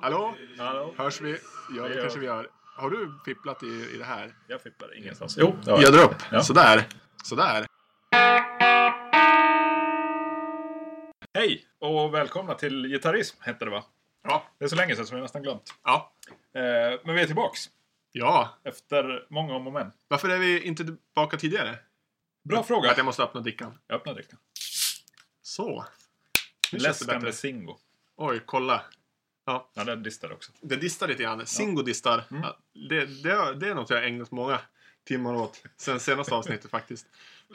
Hallå? Hallå? Hörs vi? Ja, Vi det gör. kanske vi gör. Har du fipplat i, i det här? Jag fippar ingenstans. Jo, det har Jag jag. drar upp. Ja. Sådär. Sådär. Hej och välkomna till Gitarrism hette det va? Ja. Det är så länge sedan som jag nästan glömt. Ja. Eh, men vi är tillbaks Ja. efter många om och men. Varför är vi inte tillbaka tidigare? Bra fråga. Mm. Att jag måste öppna drickan. Jag öppnar direkt. Så. Nu känns det Les gamle bättre. Singo. Oj, kolla. Ja, den distade också. Det distar lite grann. Singo distar. Mm. Ja, Det, det, det är något jag har ägnat många timmar åt. Sen senaste avsnittet faktiskt.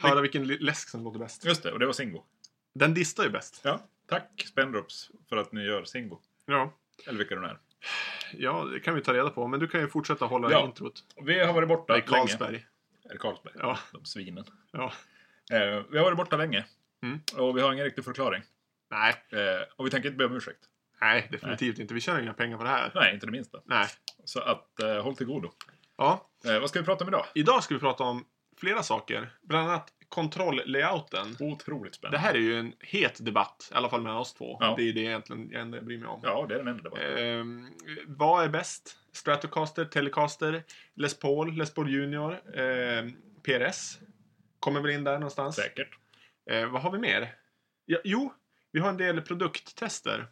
Höra vilken li- läsk som låter bäst. Just det, och det var Singo. Den distar ju bäst. Ja, tack Spendrups för att ni gör Singo. Ja. Eller vilka de är. Ja, det kan vi ta reda på. Men du kan ju fortsätta hålla Ja. introt. Vi har varit borta Det är länge. Carlsberg. Eller Carlsberg. Ja. De svinen. Ja. Eh, vi har varit borta länge. Mm. Och vi har ingen riktig förklaring. Nej, Eh, och vi tänker inte be om ursäkt. nej, definitivt inte. Vi tjänar inga pengar på det här. Nej, inte det minsta. Nej. Så att eh, håll till godo. Ja, Eh, vad ska vi prata om idag? idag ska vi prata om flera saker. Bland annat kontroll-layouten. Otroligt Det spännande. här är ju en het debatt, i alla fall mellan oss två. Ja. Det är ju det egentligen det enda jag bryr mig om. Ja, det är den enda debatten. Ehm, vad är bäst? Stratocaster, Telecaster, Les Paul, Les Paul Junior, ehm, PRS. Kommer väl in där någonstans. Säkert. Eh, vad har vi mer? Ja, jo, vi har en del produkttester.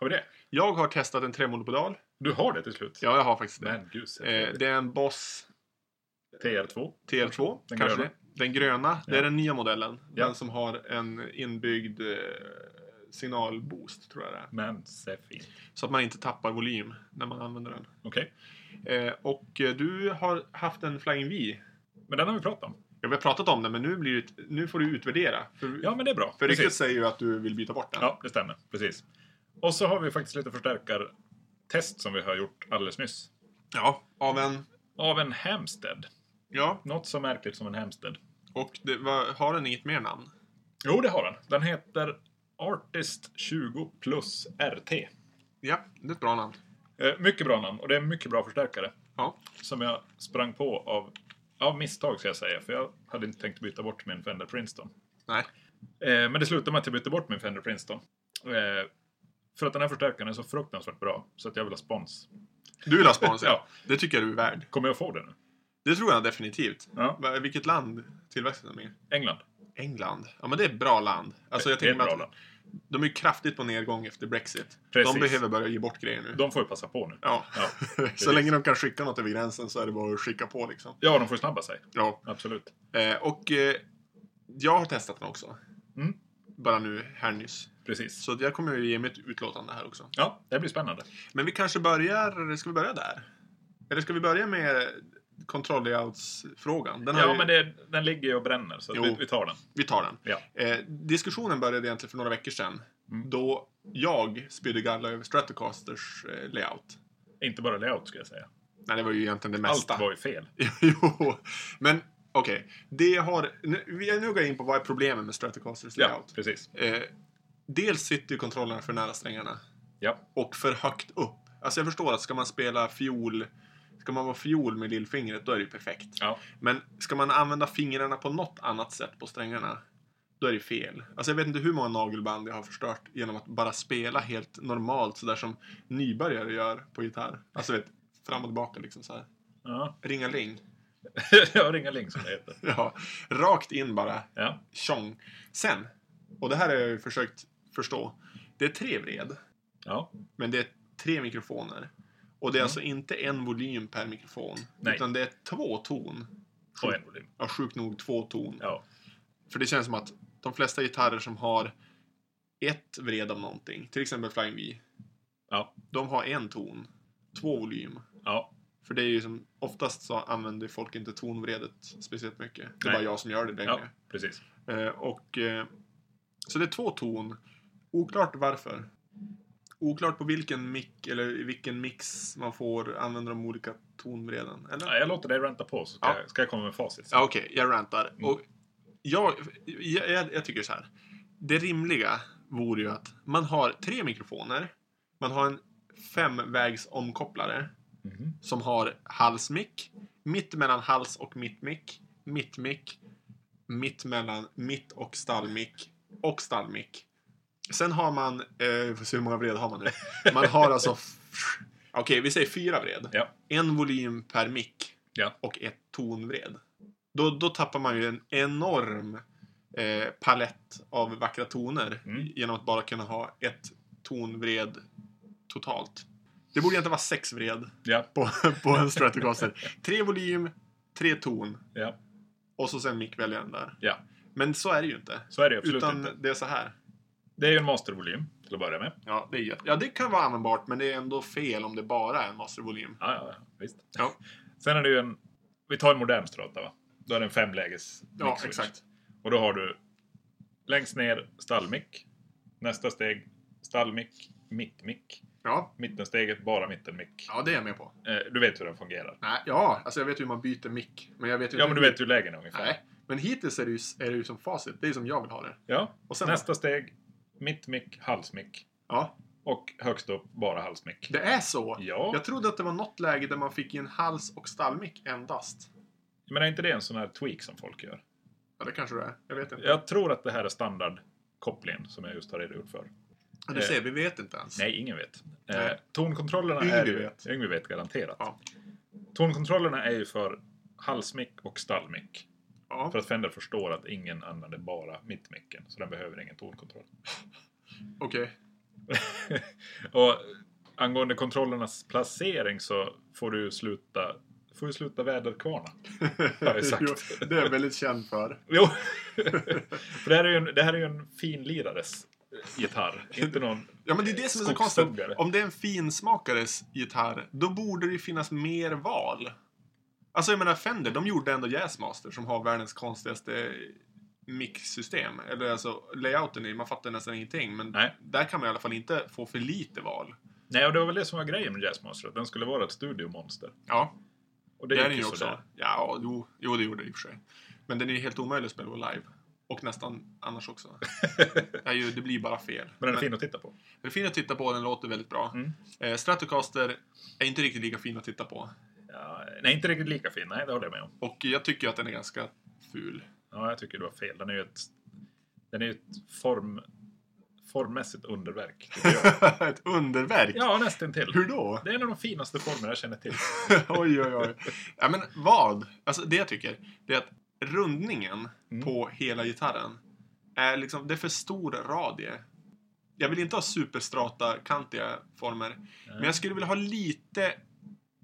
Har vi det? Jag har testat en tremonopodal. Du har det till slut? Ja, jag har faktiskt det. Men gud, så Eh, trevligt. det är en Boss Eh, TR2? TR2, Den kanske gröna. det. Den gröna, det Ja. är den nya modellen. Ja. Den som har en inbyggd eh, signalboost, tror jag det är. Men se fint. Så att man inte tappar volym när man använder den. Okej. Eh, och eh, du har haft en Flying V. Men den har vi pratat om. Ja, vi har pratat om den, men nu, blir det, ett- nu får du utvärdera. För, Ja, men det är bra. för ryktet Precis. säger ju att du vill byta bort den. Ja, det stämmer. Precis. Och så har vi faktiskt lite förstärkartest som vi har gjort alldeles nyss. Ja, av en... Av en Hamstead. Ja, Något så märkligt som en Hamstead. och det, var, har den inget mer namn? Jo, det har den. Den heter Artist 20 plus RT. Ja, det är ett bra namn. Eh, mycket bra namn och det är en mycket bra förstärkare. Ja. Som jag sprang på av, av misstag ska jag säga. För jag hade inte tänkt byta bort min Fender Princeton. Nej. Eh, men det slutade med att jag bytte bort min Fender Princeton. Eh, för att den här förstärkaren är så fruktansvärt bra. Så att jag vill ha spons. Du vill ha spons, ja. Ja. Det tycker jag du är värd. Kommer jag få det nu? Det tror jag definitivt. Ja. Va- Vilket land tillväxten är med? England. England. Ja, men det är ett bra land. Alltså, jag det är tänker ett mig bra att land. de är ju kraftigt på nedgång efter Brexit. Precis. De behöver börja ge bort grejer nu. De får ju passa på nu. Ja. Ja, så länge de kan skicka något över gränsen så är det bara att skicka på liksom. Ja, de får ju snabba sig. Ja. Absolut. Eh, och eh, jag har testat den också. Mm. Bara nu, här nyss. Precis. Så att jag kommer ju ge mitt utlåtande här också. Ja, det blir spännande. Men vi kanske börjar... Ska vi börja där? Eller ska vi börja med kontroll-layouts-frågan? Den har Ja, ju- men det, den ligger ju och bränner. Så Jo. vi, vi tar den. Vi tar den. Ja. Eh, diskussionen började egentligen för några veckor sedan. Mm. Då jag spydde galla över Stratocasters eh, layout. Inte bara layout ska jag säga. Nej, det var ju egentligen det mesta. Allt var ju fel. jo, men okej. Det har... Nu, vi- nu går jag in på vad är problemen med Stratocasters Ja, layout. precis. Eh, dels sitter ju kontrollerna för nära strängarna. Ja. Och för högt upp. Alltså jag förstår att ska man spela fiol... Ska man vara fiol med lillfingret, då är det ju perfekt. Ja. Men ska man använda fingrarna på något annat sätt på strängarna, då är det fel. Alltså jag vet inte hur många nagelband jag har förstört genom att bara spela helt normalt, sådär som nybörjare gör på gitarr. Alltså vet, fram och tillbaka liksom så här. Ja. Ringaling. ja, Ringaling som det heter. Ja, rakt in bara. Ja. Tjong. Sen, och det här har jag ju försökt förstå. Det är tre vred, ja. men det är tre mikrofoner. Och det är Mm. alltså inte en volym per mikrofon, Nej. utan det är två ton. Och en volym. Ja, sjukt nog två ton. Ja. För det känns som att de flesta gitarrer som har ett vred av någonting, till exempel Flying V, Ja. de har en ton, två volym. Ja. För det är ju som, oftast så använder folk inte tonvredet speciellt mycket. Det är Nej. bara jag som gör det ja. längre. Precis. Eh, och, eh, så det är två ton. Oklart varför. Oklart på vilken mick eller i vilken mix man får använda de olika tonvreden. Eller? Ja, Jag låter dig ränta på så ska, Ja. jag, ska jag komma med facit. sen. Ja, okej. jag rantar. Och jag, jag, jag, jag tycker så här. Det rimliga vore ju att man har tre mikrofoner. Man har en femvägs omkopplare Mhm. som har halsmick, mitt mellan hals och mittmick, mittmick, mitt mellan mitt och stallmick och stallmick. Sen har man, eh, vi får se hur många vred har man nu? Man har alltså f- Okej, vi säger fyra vred. Ja. En volym per mick. Ja. Och ett tonvred. Då, då tappar man ju en enorm eh, palett av vackra toner Mm. genom att bara kunna ha ett tonvred totalt. Det borde inte vara sex vred Ja, på, på en Stratocaster. tre volym, tre ton ja, och så sen mickväljaren där. ja. Men så är det ju inte. Så är det ju absolut Utan inte. det är så här. Det är ju en mastervolym till att börja med. Ja det, är, ju- ja, det kan vara användbart, men det är ändå fel om det bara är en mastervolym. Ja, ja, ja, visst. Ja. Sen är det ju en... Vi tar en modern strata, va? Då är det en femläges Ja, mixswitch. exakt. Och då har du längst ner stallmick. Nästa steg stallmick, mittmick. Ja, Mittensteget bara mittenmick. ja det är jag med på. Eh, du vet hur den fungerar. Nej, ja, alltså jag vet hur man byter mick. Men jag vet ju Ja, inte men du hur- vet hur lägen är ungefär. Nej, men hittills är det ju, är det ju som facit. Det är ju som jag vill ha det. Ja. Och sen Nästa steg mittmick, halsmick. Ja, Och högst upp bara halsmick. det är så. Ja. Jag trodde att det var något läge där man fick in hals och stallmick endast. Men är inte det en sån här tweak som folk gör? Ja, det kanske det är. Jag vet inte. Jag tror att det här är standardkopplingen som jag just har redogjort för. Ja, du eh, ser, vi vet inte ens. Nej, ingen vet. Nej. Eh, tonkontrollerna Yngve är ju... vet. Yngve vet garanterat. Ja. Tonkontrollerna är ju för halsmick och stallmick. Ja. För att Fender förstår att ingen använder bara mittmicken, så den behöver ingen tonkontroll. Okej. och angående kontrollernas placering så får du ju sluta, får du sluta väderkvarna. Ja, exakt. jo, det är jag väldigt känd för. Jo! för det här är ju en, det här är ju en finlirares gitarr, inte någon... Ja, men det är det som är så konstigt. Skogshuggare. Om det är en finsmakares gitarr, då borde det ju finnas mer val. Alltså, jag menar Fender, de gjorde ändå Jazzmaster som har världens konstigaste mixsystem. Eller alltså, layouten i, man fattar nästan ingenting. Men Nej. där kan man i alla fall inte få för lite val. Nej, och det var väl det som var grejen med Jazzmaster, att den skulle vara ett studiomonster. Ja, Och det, det, är gick den ju ju också. sådär. Ja, jo, jo, det gjorde det i och för sig. Men den är ju helt omöjlig att spela på live. Och nästan annars också. Det, är ju, det blir bara fel. Men den är fin att titta på. Den är fin att titta på, den låter väldigt bra. Mm. Eh, Stratocaster är inte riktigt lika fin att titta på. Ja, nej, inte riktigt lika fin. Nej, det håller jag med om. Och jag tycker att den är ganska ful. Ja, jag tycker du har fel. Den är ju ett, den är ju ett form, formmässigt underverk. tycker jag. Ett underverk! ja, nästan till. Hur då? Det är en av de finaste former jag känner till. oj, oj, oj. Ja, men vad? Alltså det jag tycker, det är att rundningen Mm. på hela gitarren är liksom, det är för stor radie. Jag vill inte ha superstrata, kantiga former. Men jag skulle vilja ha lite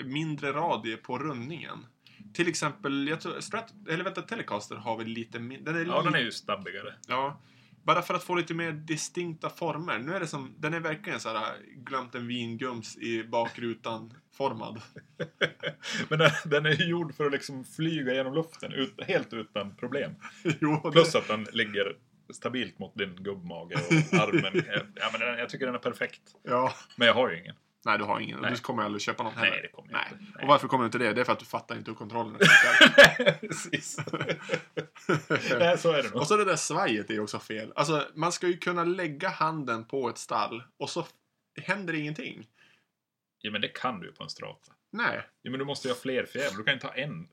mindre radie på rundningen. Till exempel, jag tror, Strat, eller vänta, Telecaster har väl lite mindre, den är Ja, lite den är ju stabbigare. Ja. Bara för att få lite mer distinkta former. Nu är det som, den är verkligen så här äh, glömt en vingums i bakrutan-formad. Men den, den är ju gjord för att liksom flyga genom luften ut, helt utan problem. jo, det- Plus att den ligger stabilt mot din gubbmage och armen. Ja, men den, jag tycker den är perfekt. Ja. Men jag har ju ingen. Nej, du har ingen. Nej. Du kommer aldrig köpa någon Nej, heller. det kommer jag Nej. inte. Och varför kommer du inte det? Det är för att du fattar inte hur kontrollen funkar. Precis. Nej, så är det nog. Och så det där svajet är ju också fel. Alltså, man ska ju kunna lägga handen på ett stall och så händer ingenting. Ja, men det kan du ju på en strata. Nej. Ja, men du måste ju ha fler fjädrar. Du kan ju inte ha en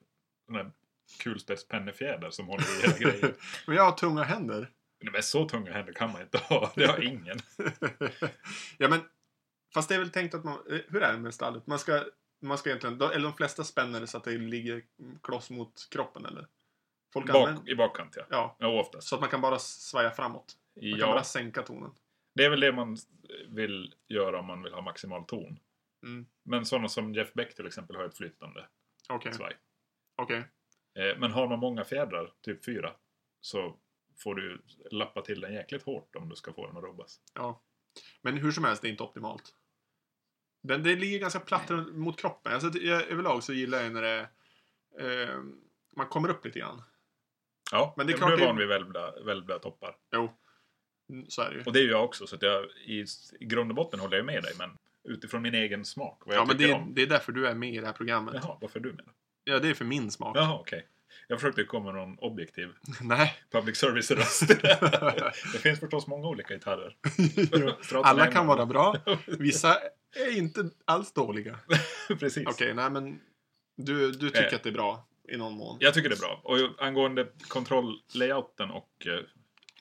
sån här kulspetspennefjäder som håller i hela grejen. Men jag har tunga händer. Nej, men så tunga händer kan man inte ha. Det har ingen. ja, men... Fast det är väl tänkt att man... eh, Hur är det med stallet? Man ska, man ska egentligen... de- Eller de flesta spänner det så att det ligger kloss mot kroppen, eller? Folk Bak, använder... I bakkant, ja. Ja. Ja, oftast. Så att man kan bara svaja framåt. Man kan bara Ja, sänka tonen. det är väl det man vill göra om man vill ha maximal ton. Mm. Men sådana som Jeff Beck till exempel har ett flytande Okej. svaj. Okej. Eh, Men har man många fjädrar, typ fyra, så får du lappa till den jäkligt hårt om du ska få den att rubbas. Ja. Men hur som helst, det är inte optimalt. Den, det ligger ganska platt runt- mot kroppen. Alltså, det- jag, överlag så gillar jag när det... Eh, man kommer upp lite grann. Ja, Men men det är det är klart du det- är van vid välvda, välvda toppar. Jo. Mm, Så är det ju. Och det är ju jag också, så att jag, i, i grund och botten håller jag med dig, men utifrån min egen smak, vad jag Ja, men tycker det, är- om. det är därför du är med i det här programmet. Ja, Jaha, varför du menar? det är för min smak. Jaha, okej. Jag försökte komma med någon objektiv Nej. public service-röst. det finns förstås många olika gitarrer. Jo, Strata Alla är kan en vara av bra. Vissa är inte alls dåliga. dem. Precis. Okej, nej men du, du tycker att det är bra i någon mån. Jag tycker det är bra. Och angående kontroll-layouten och eh,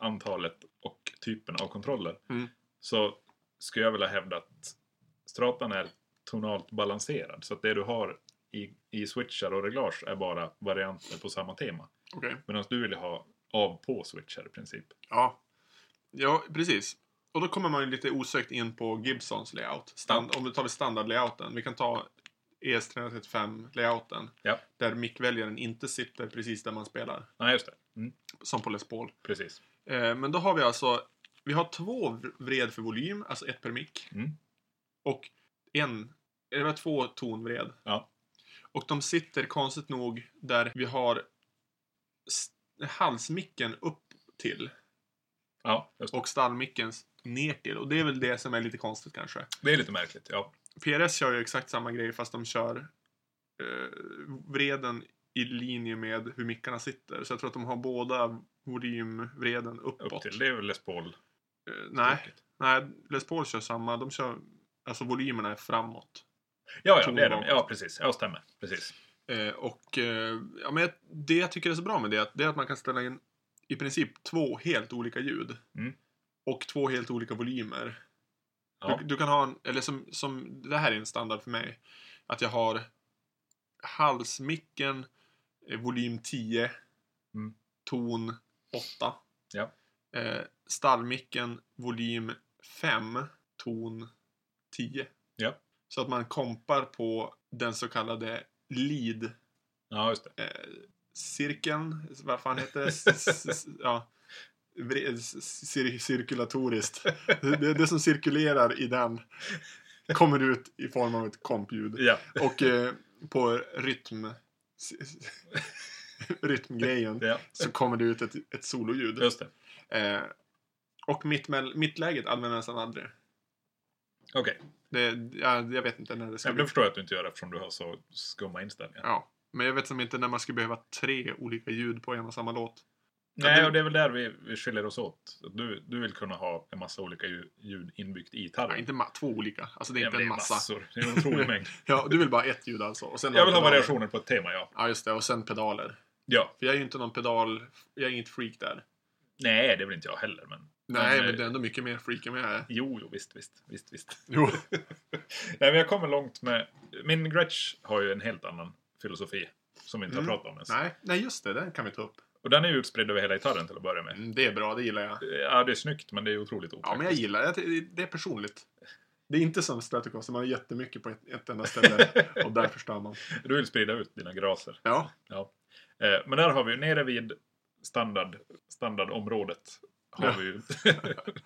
antalet och typen av kontroller Mm. så skulle jag vilja hävda att Stratan är tonalt balanserad. Så att det du har i, i switchar och reglage är bara varianter på samma tema. Okej. Medan du vill ha av på switchar i princip. Ja. Ja, precis. Och då kommer man ju lite osökt in på Gibsons layout. Stand, Om vi tar standardlayouten. Vi kan ta E ES335-layouten. Ja. Där mickväljaren inte sitter precis där man spelar. Nej, just det. Mm, Som på Les Paul. precis. Eh, men då har vi alltså vi har två v- vred för volym, alltså ett per mick. Mm. Och en, det var två tonvred. Ja. Och de sitter konstigt nog där vi har s- halsmicken upp till Ja, just det. och stallmicken s- ner till. Och det är väl det som är lite konstigt kanske. Det är lite märkligt. Ja, PRS kör ju exakt samma grej fast de kör eh, vreden i linje med hur mickarna sitter. Så jag tror att de har båda volymvreden uppåt. upp till. Det är väl Les Paul. Eh, nej, Nej, Les Paul kör samma. De kör, alltså volymerna är framåt. Ja, ja, det är det. Tonbart. Ja, precis. Ja, stämmer. Precis. Eh, och eh, ja, men jag, det jag tycker är så bra med det, är att- det är att man kan ställa in i princip två helt olika ljud. Mm. Och två helt olika volymer. Ja, Du, du kan ha en, eller som, som, det här är en standard för mig. Att jag har halsmicken, eh, volym 10, Mm. ton 8. Ja. Eh, stallmicken, volym 5, ton 10. Ja. Så att man kompar på den så kallade lead ja just det. Eh, cirkeln, vad fan heter det? S- s- s- ja. Vre- s- cir- cirkulatoriskt. Det, det som cirkulerar i den kommer ut i form av ett kompljud. Ja, Och eh, på rytm... s- s- rytmgrejen ja så kommer det ut ett, ett sololjud. just det. Eh, och mitt, mittläget använder jag nästan aldrig. Okej. Det, jag, jag vet inte när det Ja, ska men bli. det förstår jag att du inte gör eftersom du har så skumma inställningar. Ja. Men jag vet som inte när man ska behöva tre olika ljud på en och samma låt. Nej, du- och det är väl där vi, vi skiljer oss åt. Att Du, du vill kunna ha en massa olika ljud, ljud inbyggt i gitarren. Ja, inte ma- två olika. Alltså det är Ja, inte men en det är massa. massor. Det är en otrolig mängd. Ja, du vill bara ett ljud alltså. Och sen Jag vill ha pedaler. variationer på ett tema, ja. Ja, just det. Och sen pedaler. Ja. För jag är ju inte någon pedal... Jag är inget freak där. Nej, det är väl inte jag heller, men... Nej, men, men eh, det är ändå mycket mer freak än vad jag är. Jo, jo, visst, visst, visst, visst. Jo. Nej, men jag kommer långt med... Min Gretsch har ju en helt annan filosofi. Som vi inte Mm. har pratat om ens. Nej, nej just det. Den kan vi ta upp. Och den är ju utspridd över hela gitarren till att börja med. Mm, det är bra, det gillar jag. Ja, det är snyggt, men det är otroligt opraktiskt. Ja, men jag gillar det. Det- Det är personligt. Det är inte som Stratocaster, man har jättemycket på ett, ett enda ställe och där förstör man. Du vill sprida ut dina graser. Ja, Eh, men där har vi ju nere vid standard, standardområdet har Ja. vi ju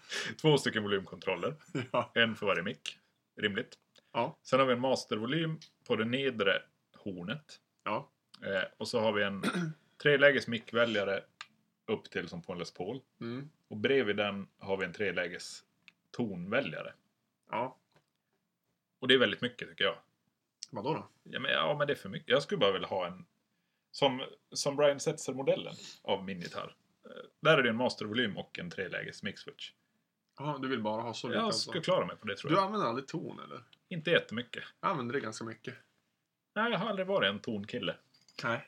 två stycken volymkontroller. ja, En för varje mick. Rimligt. Ja. Sen har vi en mastervolym på det nedre hornet. ja. Eh, och så har vi en treläges mickväljare upp till som på en Les Paul. Mm, Och bredvid den har vi en treläges tonväljare. ja. Och det är väldigt mycket tycker jag. Vadå då? Ja men, ja, men det är för mycket. Jag skulle bara vilja ha en... Som, som Brian Setzer-modellen av min gitarr. Eh, Där är det en mastervolym och en treläges mixswitch. Ja, du vill bara ha så lite Jag alltså. skulle klara mig på det tror Du jag. använder aldrig ton, eller? Inte jättemycket. Jag använder det ganska mycket. Nej, jag har aldrig varit en tonkille. Nej.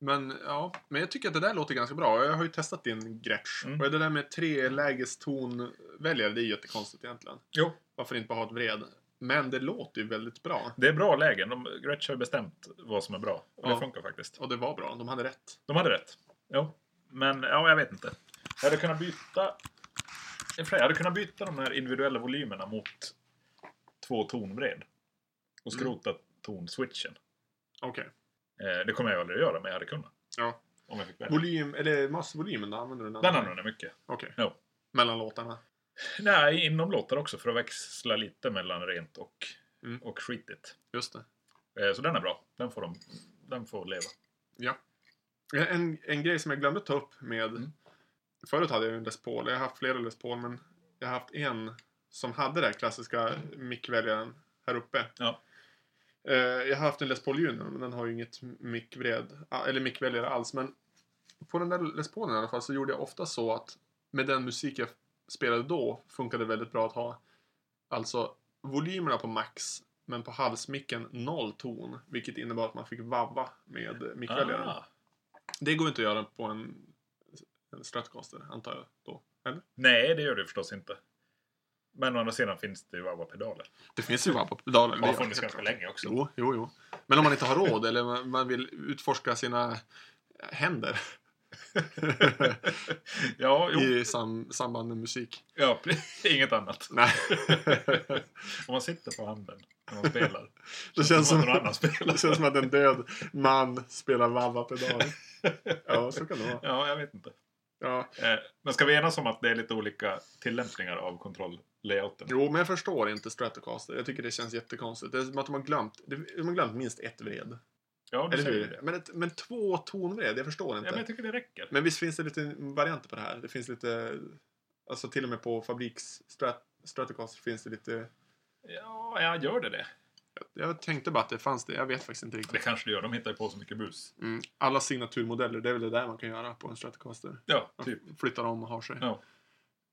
Men ja, men jag tycker att det där låter ganska bra. Jag har ju testat din Gretsch. Mm. Och det där med trelägestonväljare, det är ju jättekonstigt egentligen. Jo. Varför inte bara ha ett vred? Men det låter ju väldigt bra. Det är bra lägen. De, Gretsch har ju bestämt vad som är bra. Och det Ja. funkar faktiskt. Och det var bra, de hade rätt. De hade rätt. Jo. Men ja, jag vet inte. Jag hade kunnat byta... Jag hade kunnat byta de här individuella volymerna mot två tonvred. Och skrota Mm. tonswitchen. Okej. Eh, Det kommer jag aldrig att göra, men jag hade kunnat. Ja. Om jag fick välja. Volym, eller massvolymen då? Använder du den? Den använder jag mycket. Okej. Ja. Mellan låtarna? Nej, inom låtar också för att växla lite mellan rent och, Mm. och skitigt. Just det. Eh, Så den är bra. Den får, de, den får leva. Eh, En, en grej som jag glömde ta upp med... Mm. Förut hade jag ju en Les Paul. Jag har haft flera Les Paul, men jag har haft en som hade den här klassiska mickväljaren här uppe. Ja. Eh, jag har haft en Les Paul Junior, men den har ju inget mickvred, ah, eller mickväljare alls. Men på den där Les Paulen i alla fall så gjorde jag ofta så att med den musik jag spelade då funkade det väldigt bra att ha alltså volymerna på max men på halsmicken noll ton, vilket innebar att man fick vavva med mickväljaren. Ah. Det går inte att göra på en, en Stratocaster, antar jag då. Eller? Nej, det gör det förstås inte. Men å andra sidan finns det ju ABBA-pedaler. Det finns ju WAP-pedaler. Det har funnits ganska länge också. Jo, jo, jo. Men om man inte har råd eller man- man vill utforska sina händer Ja, jo. i sam, samband med musik. ja, precis. inget annat. Nej. Om man sitter på handen när man spelar. Det känns, som att som, någon annan spelar. det känns som att en död man spelar WAP-pedal. Ja, så kan det vara. Ja, jag vet inte. Ja. Eh, Men ska vi enas om att det är lite olika tillämpningar av kontroll-layouten? Jo, men jag förstår inte Stratocaster. Jag tycker det känns jättekonstigt. Det är som att de har glömt, de har glömt minst ett vred. Ja, du Eller säger hur? det. Men, ett, men två tonvred, jag förstår Ja, inte. men jag tycker det räcker. Men visst finns det lite varianter på det här? Det finns lite... Alltså till och med på fabriks Strat- Stratocaster finns det lite... Ja, jag gör det det? Jag tänkte bara att det fanns det. Jag vet faktiskt inte Det riktigt. kanske det gör. De hittar ju på så mycket bus. Mm. Alla signaturmodeller, det är väl det där man kan göra på en Stratocaster. Ja, Man typ. Flyttar om och har sig. Ja.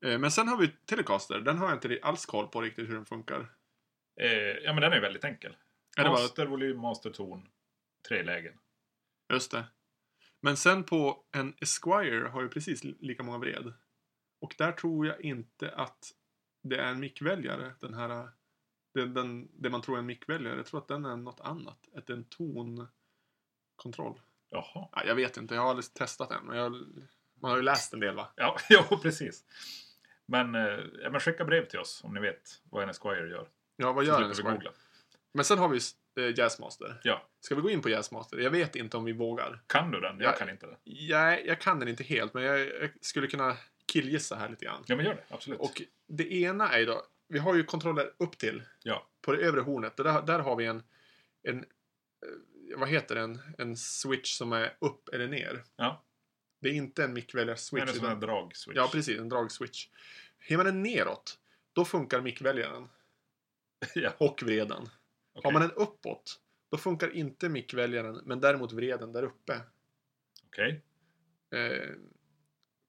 Eh, Men sen har vi Telecaster. Den har jag inte alls koll på riktigt hur den funkar. Eh, ja, men den är ju väldigt enkel. Är det bara... Master, volym, master, ton, tre lägen. Just det. Men sen på en Esquire har ju precis lika många vred. Och där tror jag inte att det är en mickväljare. Den här, det, den, det man tror är en mickväljare. Jag tror att den är något annat. Att det är en tonkontroll. Jaha. Ja, jag vet inte, jag har aldrig testat den. Men jag, man har ju läst en del va? Ja, ja precis. Men, eh, ja, men skicka brev till oss om ni vet vad en Esquire gör. Ja, vad Så gör slipper en vi Esquire? googla. Men sen har vi eh, Jazzmaster. Ja. Ska vi gå in på Jazzmaster? Jag vet inte om vi vågar. Kan du den? Jag Ja. kan inte den. Jag, jag kan den inte helt, men jag, jag skulle kunna killgissa här lite grann. Ja, men gör det. Absolut. Och det ena är ju då, vi har ju kontroller upp till Ja. på det övre hornet. Och Där, där har vi en, en, eh, vad heter den, en switch som är upp eller ner. Ja. Det är inte en Switch, är det mickväljare-switch. som en utan- drag-switch? Ja, precis, en drag-switch. Har man den neråt, då funkar mickväljaren ja, och vreden. okej. Har man den uppåt, då funkar inte mickväljaren, men däremot vreden där uppe. Okej. Eh,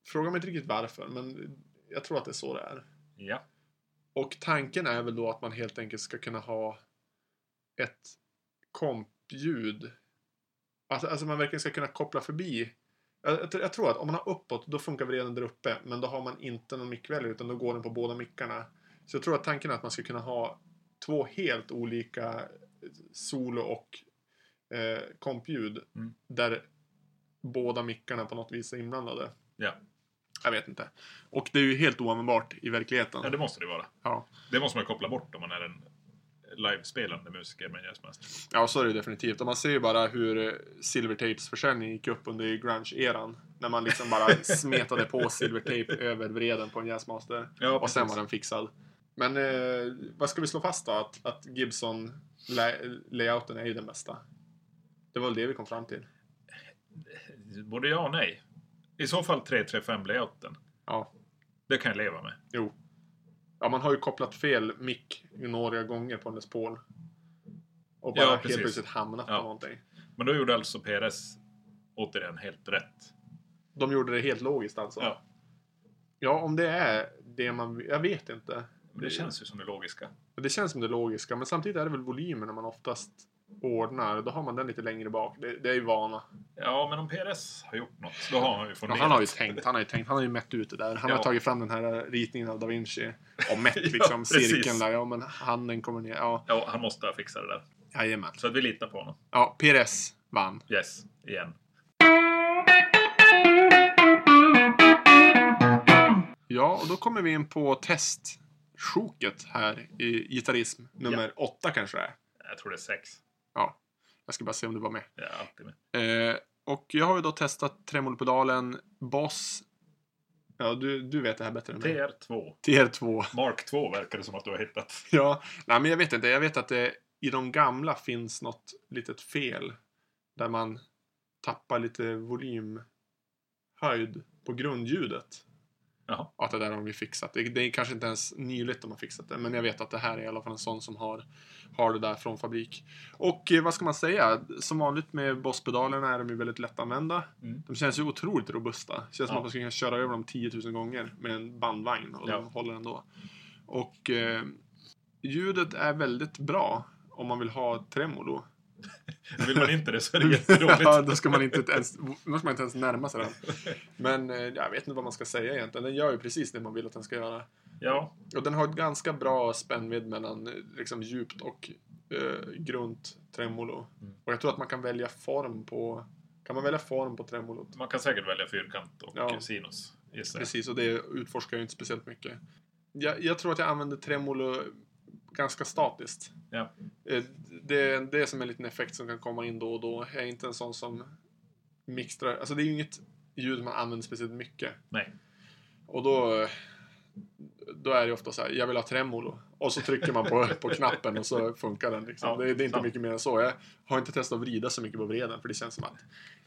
fråga mig inte riktigt varför, men jag tror att det är så det är. Ja. Och tanken är väl då att man helt enkelt ska kunna ha ett kompljud. Alltså, alltså man verkligen ska kunna koppla förbi. Jag, jag, jag tror att om man har uppåt, då funkar vreden där uppe. Men då har man inte någon mickväljare, utan då går den på båda mickarna. Så jag tror att tanken är att man ska kunna ha två helt olika eh, solo och eh, kompljud. Mm. Där båda mickarna på något vis är inblandade. Ja. Jag vet inte. Och det är ju helt oanvändbart i verkligheten. ja, det måste det vara. Ja. Det måste man ju koppla bort om man är en livespelande musiker med en jazzmaster. Ja, så är det definitivt. Och man ser ju bara hur eh, Silvertapes försäljning gick upp under grunge-eran. När man liksom bara smetade på Silvertape över vreden på en Jazzmaster. Ja, Och sen var den fixad. Men eh, vad ska vi slå fast då? Att, att Gibson-layouten är ju den bästa. Det var väl det vi kom fram till. Både ja och nej. I så fall 335-layouten. Ja, Det kan jag leva med. jo. Ja, man har ju kopplat fel mick några gånger på en Les Paul. Och bara Ja, helt precis. plötsligt hamnat Ja. på någonting. Men då gjorde alltså PRS återigen helt rätt. De gjorde det helt logiskt alltså. Ja. Ja, om det är det man... Jag vet inte. Men det känns ju som det logiska. Det känns som det logiska, men samtidigt är det väl volymerna man oftast ordnar. Då har man den lite längre bak. Det, det är ju vana. Ja, men om PRS har gjort något, då har han ju Ja, funderat. han har ju tänkt, han har ju tänkt, han har ju mätt ut det där. Han Ja. har tagit fram den här ritningen av Da Vinci. Och mätt Ja, liksom precis. cirkeln där. Ja, men handen kommer ner. Ja, Ja, han måste fixa det där. jajamän. Så att vi litar på honom. Ja, PRS vann. Yes, igen. Ja, och då kommer vi in på testsjoket här i gitarrism. Nummer åtta kanske det är. Jag tror det är sex. Ja. Jag ska bara se om du var med. Ja, alltid med. Eh, och jag har ju då testat tremolpedalen Boss. Ja, du, du vet det här bättre än mig. TR2. TR2. Mark 2 verkar det som att du har hittat. Ja, nej men jag vet inte. Jag vet att det i de gamla finns något litet fel. Där man tappar lite volymhöjd på grundljudet. Jaha. Och att det där har vi fixat. Det, det är kanske inte ens nyligt de har fixat det. Men jag vet att det här är i alla fall en sån som har, har det där från fabrik. Och eh, vad ska man säga? Som vanligt med Boss-pedalerna är de ju väldigt lättanvända. Mm. De känns ju otroligt robusta. Det känns som Ja. att man skulle kunna köra över dem 10 000 gånger med en bandvagn. Och Ja. de håller ändå. Och eh, ljudet är väldigt bra om man vill ha tremolo. Vill man inte det så är det jätteroligt. ja, då ska man inte ens, då ska man inte ens närma sig den. Men eh, jag vet inte vad man ska säga egentligen. Den gör ju precis det man vill att den ska göra. Ja, Och den har ett ganska bra spännvidd mellan eh, liksom, djupt och eh, grunt tremolo. Mm. Och jag tror att man kan välja form på... Kan man välja form på tremolot? man kan säkert välja fyrkant och Ja. sinus. Gissar jag. Precis, och det utforskar jag ju inte speciellt mycket. Jag, jag tror att jag använder tremolo ganska statiskt. Ja. Eh, Det, det är som en liten effekt som kan komma in då och då. Jag är inte en sån som mixtrar. Alltså det är ju inget ljud man använder speciellt mycket. Nej. Och då, då är det ofta så här, jag vill ha tremolo. Och så trycker man på, på knappen och så funkar den. Liksom. Ja, det, det är inte sant. mycket mer än så. Jag har inte testat att vrida så mycket på vreden för det känns som att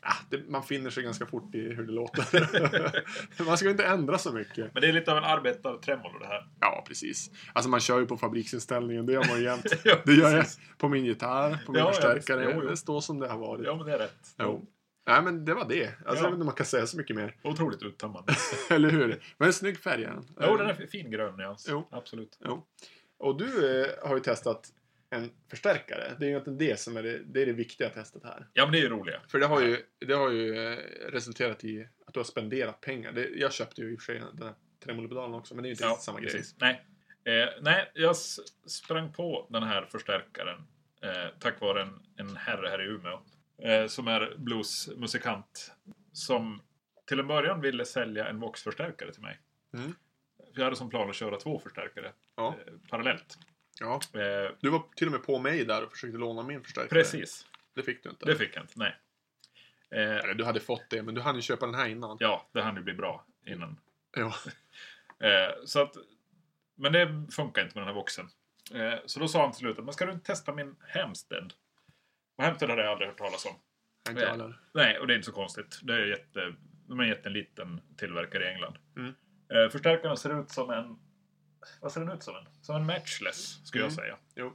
ah, det, man finner sig ganska fort i hur det låter. man ska ju inte ändra så mycket. Men det är lite av en arbetartremolo det här. Ja, precis. Alltså man kör ju på fabriksinställningen, det gör man ju jämt. Ja, Det gör jag precis. på min gitarr, på min Ja, ja, förstärkare. visst. Jo, jo. Det står som det har varit. Ja, men det är rätt. Jo. Nej, men det var det. Alltså, Jag Ja. vet inte om man kan säga så mycket mer. Otroligt uttömmande. Eller hur? Men en snygg färg är den. Jo, den är fin grön nyans. Jo. Absolut. Jo. Och du eh, har ju testat en förstärkare. Det är ju egentligen det som är det, det, är det viktiga testet här. Ja, men det är ju roliga. För det har ju, det har ju eh, resulterat i att du har spenderat pengar. Det, jag köpte ju i och för sig den här tremolopedalen också, men det är ju inte Ja, riktigt samma grej. precis. Nej. Eh, nej, jag s- sprang på den här förstärkaren eh, tack vare en, en herre här i Umeå eh, som är bluesmusikant som till en början ville sälja en Vox-förstärkare till mig. Mm. För jag hade som plan att köra två förstärkare Ja. eh, parallellt. Ja. Eh, Du var till och med på mig där och försökte låna min förstärkare. precis, Det fick du inte. det fick jag inte. Nej. Eh, Eller du hade fått det, men du hann ju köpa den här innan. ja, det hann ju bli bra innan Ja. Eh, så att, men det funkar inte med den här boxen. Eh, så då sa han till slut att "Men ska du inte testa min Hemstead? Och Hemstead hade jag aldrig hört talas om. Inte Ja. jag heller. Nej, och det är inte så konstigt. Det är jätte, de är en jätteliten tillverkare i England. Mm. Eh, förstärkaren ser ut som en... Vad ser den ut som? en? Som en matchless, skulle Mm. jag säga. Jo.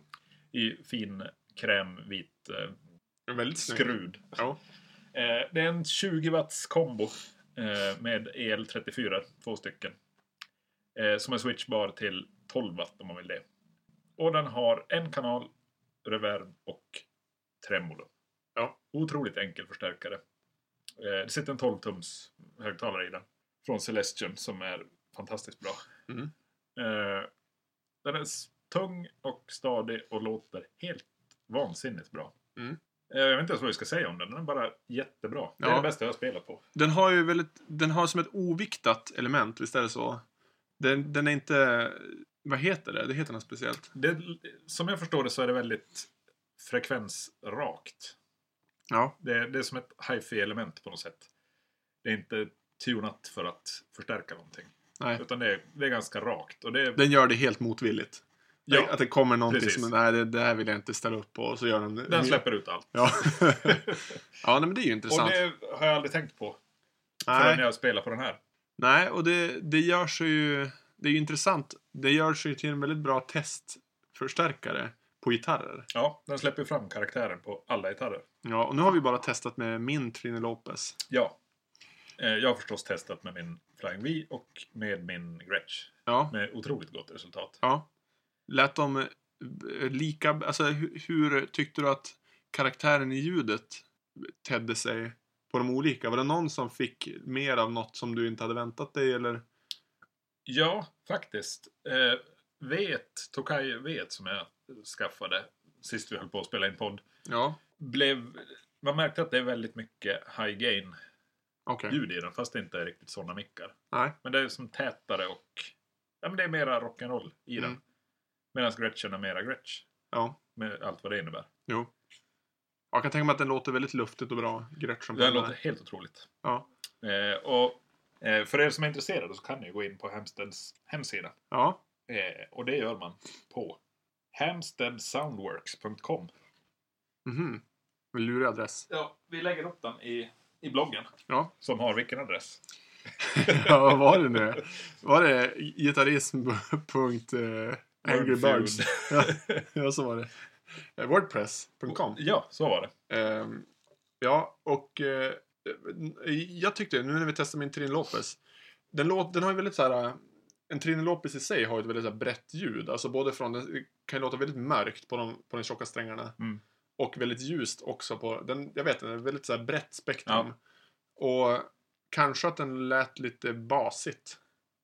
I fin krämvit eh, Den är Väldigt snygg. skrud. Ja. Eh, det är en 20 watts kombo eh, med EL34, två stycken. Eh, som är switchbar till 12 watt om man vill det. Och den har en kanal, reverb och tremolo. Ja. Otroligt enkel förstärkare. Eh, det sitter en 12-tums högtalare i den. Från Celestion som är fantastiskt bra. Mm. Eh, den är s- tung och stadig och låter helt vansinnigt bra. Mm. Eh, Jag vet inte ens vad jag ska säga om den. Den är bara jättebra. Det är Ja. det bästa jag har spelat på. Den har ju väldigt, den har som ett oviktat element, visst är det så? Den, den är inte, vad heter det? Det heter något speciellt. Det, som jag förstår det så är det väldigt frekvensrakt. Ja. Det, det är som ett hifi-element på något sätt. Det är inte tunat för att förstärka någonting. Nej. Utan det är, det är ganska rakt. Och det är, Den gör det helt motvilligt. Ja, Att det kommer någonting precis. som, nej det, det här vill jag inte ställa upp på. Och så gör den... den släpper ut allt. Ja. ja, nej, men det är ju och intressant. det har jag aldrig tänkt på förrän nej. jag spelar på den här. nej, och det, det gör sig ju, det är ju intressant. Det gör sig ju till en väldigt bra testförstärkare på gitarrer. Ja, den släpper fram karaktären på alla gitarrer. Ja, och nu har vi bara testat med min Trine Lopez. Ja. Eh, Jag har förstås testat med min Flying V och med min Gretsch. Ja. Med otroligt gott resultat. ja. Lät de eh, lika... Alltså hur, hur tyckte du att karaktären i ljudet tedde sig på de olika? Var det någon som fick mer av något som du inte hade väntat dig eller? Ja, faktiskt. Eh, vet, Tokai Vet som jag skaffade sist vi höll på att spela in podd. Ja. Blev, man märkte att det är väldigt mycket high gain-ljud Okej. i den, fast det inte är riktigt sådana mickar. Nej. Men det är som tätare och ja, men det är mera rock'n'roll i Mm. den. Medan Gretchen är mera Gretsch. Ja. Med allt vad det innebär. Jo. Jag kan tänka mig att den låter väldigt luftigt och bra. Gretchen. på Det här den här. låter helt otroligt. Ja. Eh, och eh, för er som är intresserade så kan ni gå in på Hemsteds hemsida. Ja. Eh, och det gör man på hamstedsoundworks.com. Mhm. Lurig adress. Ja, vi lägger upp den i, i bloggen. Ja. Som har vilken adress? ja, vad var det nu? Var det gitarism.angrybirds? Ja, ja, så var det. Eh, Wordpress.com. Ja, så var det. Ehm, ja, och eh, jag tyckte, nu när vi testar min Trin Lopez, den, låt, den har ju väldigt så här, eh, en Trin Lopez i sig har ju ett väldigt så här, brett ljud, alltså både från, den kan ju låta väldigt mörkt på de, på de tjocka strängarna Mm. och väldigt ljust också på, den, jag vet inte, väldigt så här brett spektrum. Och kanske att den lät lite basigt.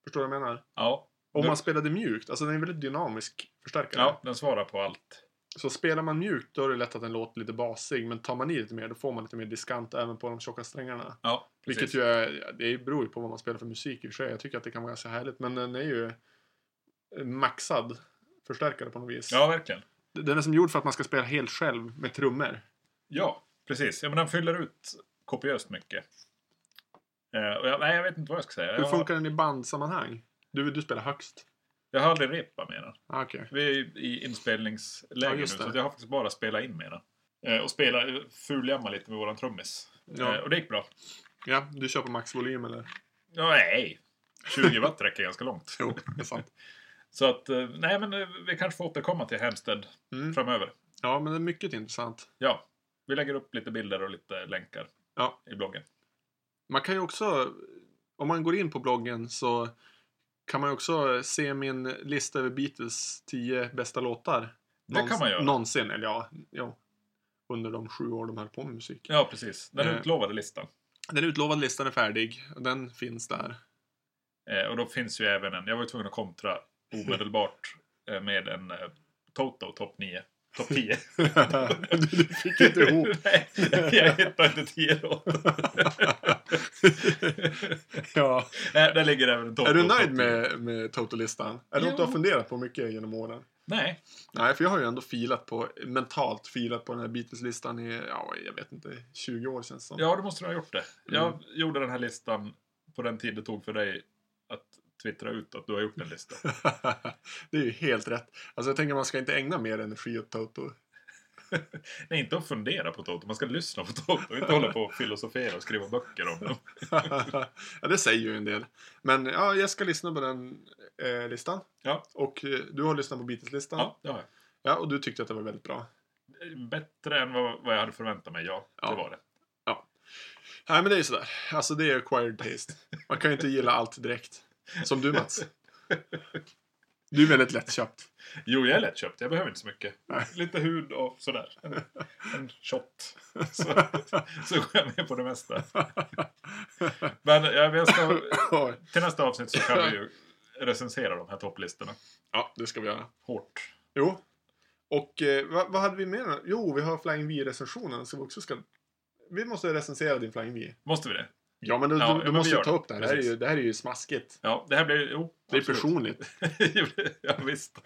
Förstår du vad jag menar? Ja, Om Nu- man spelade mjukt, alltså den är en väldigt dynamisk förstärkare. Ja, den svarar på allt. Så spelar man mjukt då är det lätt att den låter lite basig. Men tar man i lite mer då får man lite mer diskant även på de tjocka strängarna. Ja, precis. Vilket ju är, det beror ju på vad man spelar för musik i och för sig. Jag tycker att det kan vara ganska härligt. Men den är ju maxad förstärkare på något vis. Ja, verkligen. Den är som gjord för att man ska spela helt själv med trummor. Ja, precis. Ja, men den fyller ut kopiöst mycket. Eh, och jag, nej, jag vet inte vad jag ska säga. Hur Jag, har- funkar den i bandsammanhang? Du, du spelar högst. jag har aldrig repat med den. Ah, Okej. Vi är ju i inspelningsläge Ja, nu, just så det. att jag har faktiskt bara spelat in med den. Eh, och spela, fuljamma lite med våran trummis. Ja. Eh, och det gick bra. Ja, du kör på maxvolym eller? Ja, nej. 20 watt räcker ganska långt. Jo, det är sant. Så att, eh, nej men eh, vi kanske får återkomma till Hemsted Mm. framöver. Ja, men det är mycket intressant. Ja, vi lägger upp lite bilder och lite länkar Ja. i bloggen. Man kan ju också, om man går in på bloggen så kan man ju också se min lista över Beatles 10 bästa låtar. Det kan man göra. Någonsin, eller ja, ja, under de sju år de höll på med musik. Ja, precis. Den Eh. utlovade listan. Den utlovade listan är färdig. och Den finns där. Eh, och då finns ju även en, jag var ju tvungen att kontra omedelbart eh, med en eh, Toto topp 9. Topp 10. du, du fick inte ihop. Nej, jag hittade inte 10 låtar. ja. Nej, där ligger även en Toto. Är du topp nöjd 10. med, med Total-listan? Är det något du har Jo. funderat på mycket genom åren? Nej, Nej, för jag har ju ändå filat på, mentalt filat på den här Beatles-listan i, ja, jag vet inte, 20 år känns det som. ja då måste du ha gjort det. Jag Mm. gjorde den här listan på den tid det tog för dig att twittra ut att du har gjort en lista. det är ju helt rätt. Alltså jag tänker man ska inte ägna mer energi åt Toto. Nej, inte att fundera på Toto. Man ska lyssna på Toto. Inte hålla på och filosofera och skriva böcker om dem. ja, det säger ju en del. Men ja, jag ska lyssna på den eh, listan. Ja. Och eh, du har lyssnat på Beatles-listan. Ja, det har jag. Ja, och du tyckte att det var väldigt bra. Bättre än vad, vad jag hade förväntat mig, ja. Ja. Det var det. Nej, men det är ju sådär. Alltså det är acquired taste. Man kan ju inte gilla allt direkt. Som du Mats. Du är väldigt lättköpt. Jo, jag är lättköpt. Jag behöver inte så mycket. Nej. Lite hud och sådär. En, en shot. Så, så går jag med på det mesta. Men jag, jag ska, Oj. till nästa avsnitt så kan vi ju recensera de här topplistorna. ja, det ska vi göra. Hårt. Jo. Och eh, vad, vad hade vi mer? Jo, vi har Flying V-recensionen som vi också ska... Vi måste recensera din Flying V. Måste vi det? Ja, men du, Ja, du, men du vi måste gör ju ta det. upp det här. Det här, är Precis. ju, det här är ju smaskigt. Ja, det här blir... Jo, Det är absolut. personligt. ja, visst.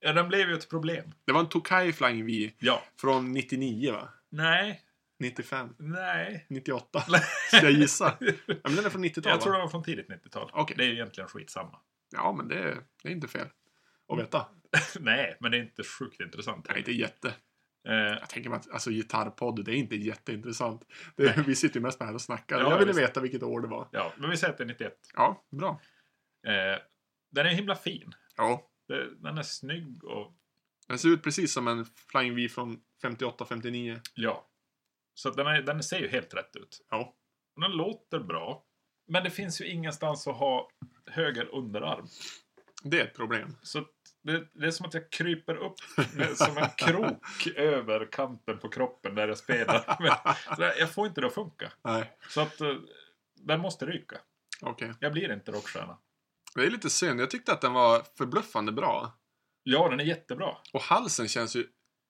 Ja, den blev ju ett problem. Det var en Tokai Flying V Ja. från 99 va? Nej, 95? nej. 98? Ska jag gissa? Ja, men den är från 90-talet Jag tror va? den var från tidigt 90-tal. Okej. Det är ju egentligen skitsamma. Ja, men det, det är inte fel. Att veta. nej, men det är inte sjukt intressant. Nej, det är jätte. Eh, Jag tänker mig att alltså, gitarrpodd, det är inte jätteintressant. Det, vi sitter ju mest här och snackar. Ja, jag ville visst. veta vilket år det var. ja, men vi säger att det är 91. Ja, bra. Eh, den är himla fin. Ja. Det- Den är snygg och... Den ser ut precis som en Flying V från 58-59. Ja. Så att den, är, den ser ju helt rätt ut. Ja. Den låter bra. Men det finns ju ingenstans att ha höger underarm. Det är ett problem. Så att det, det är som att jag kryper upp med, som en krok över kanten på kroppen där jag spelar. Men, så där, jag får inte det att funka. Nej, Så att eh, den måste ryka. okej. Jag blir inte rockstjärna. Det är lite synd. Jag tyckte att den var förbluffande bra. Ja, den är jättebra. Och halsen känns ju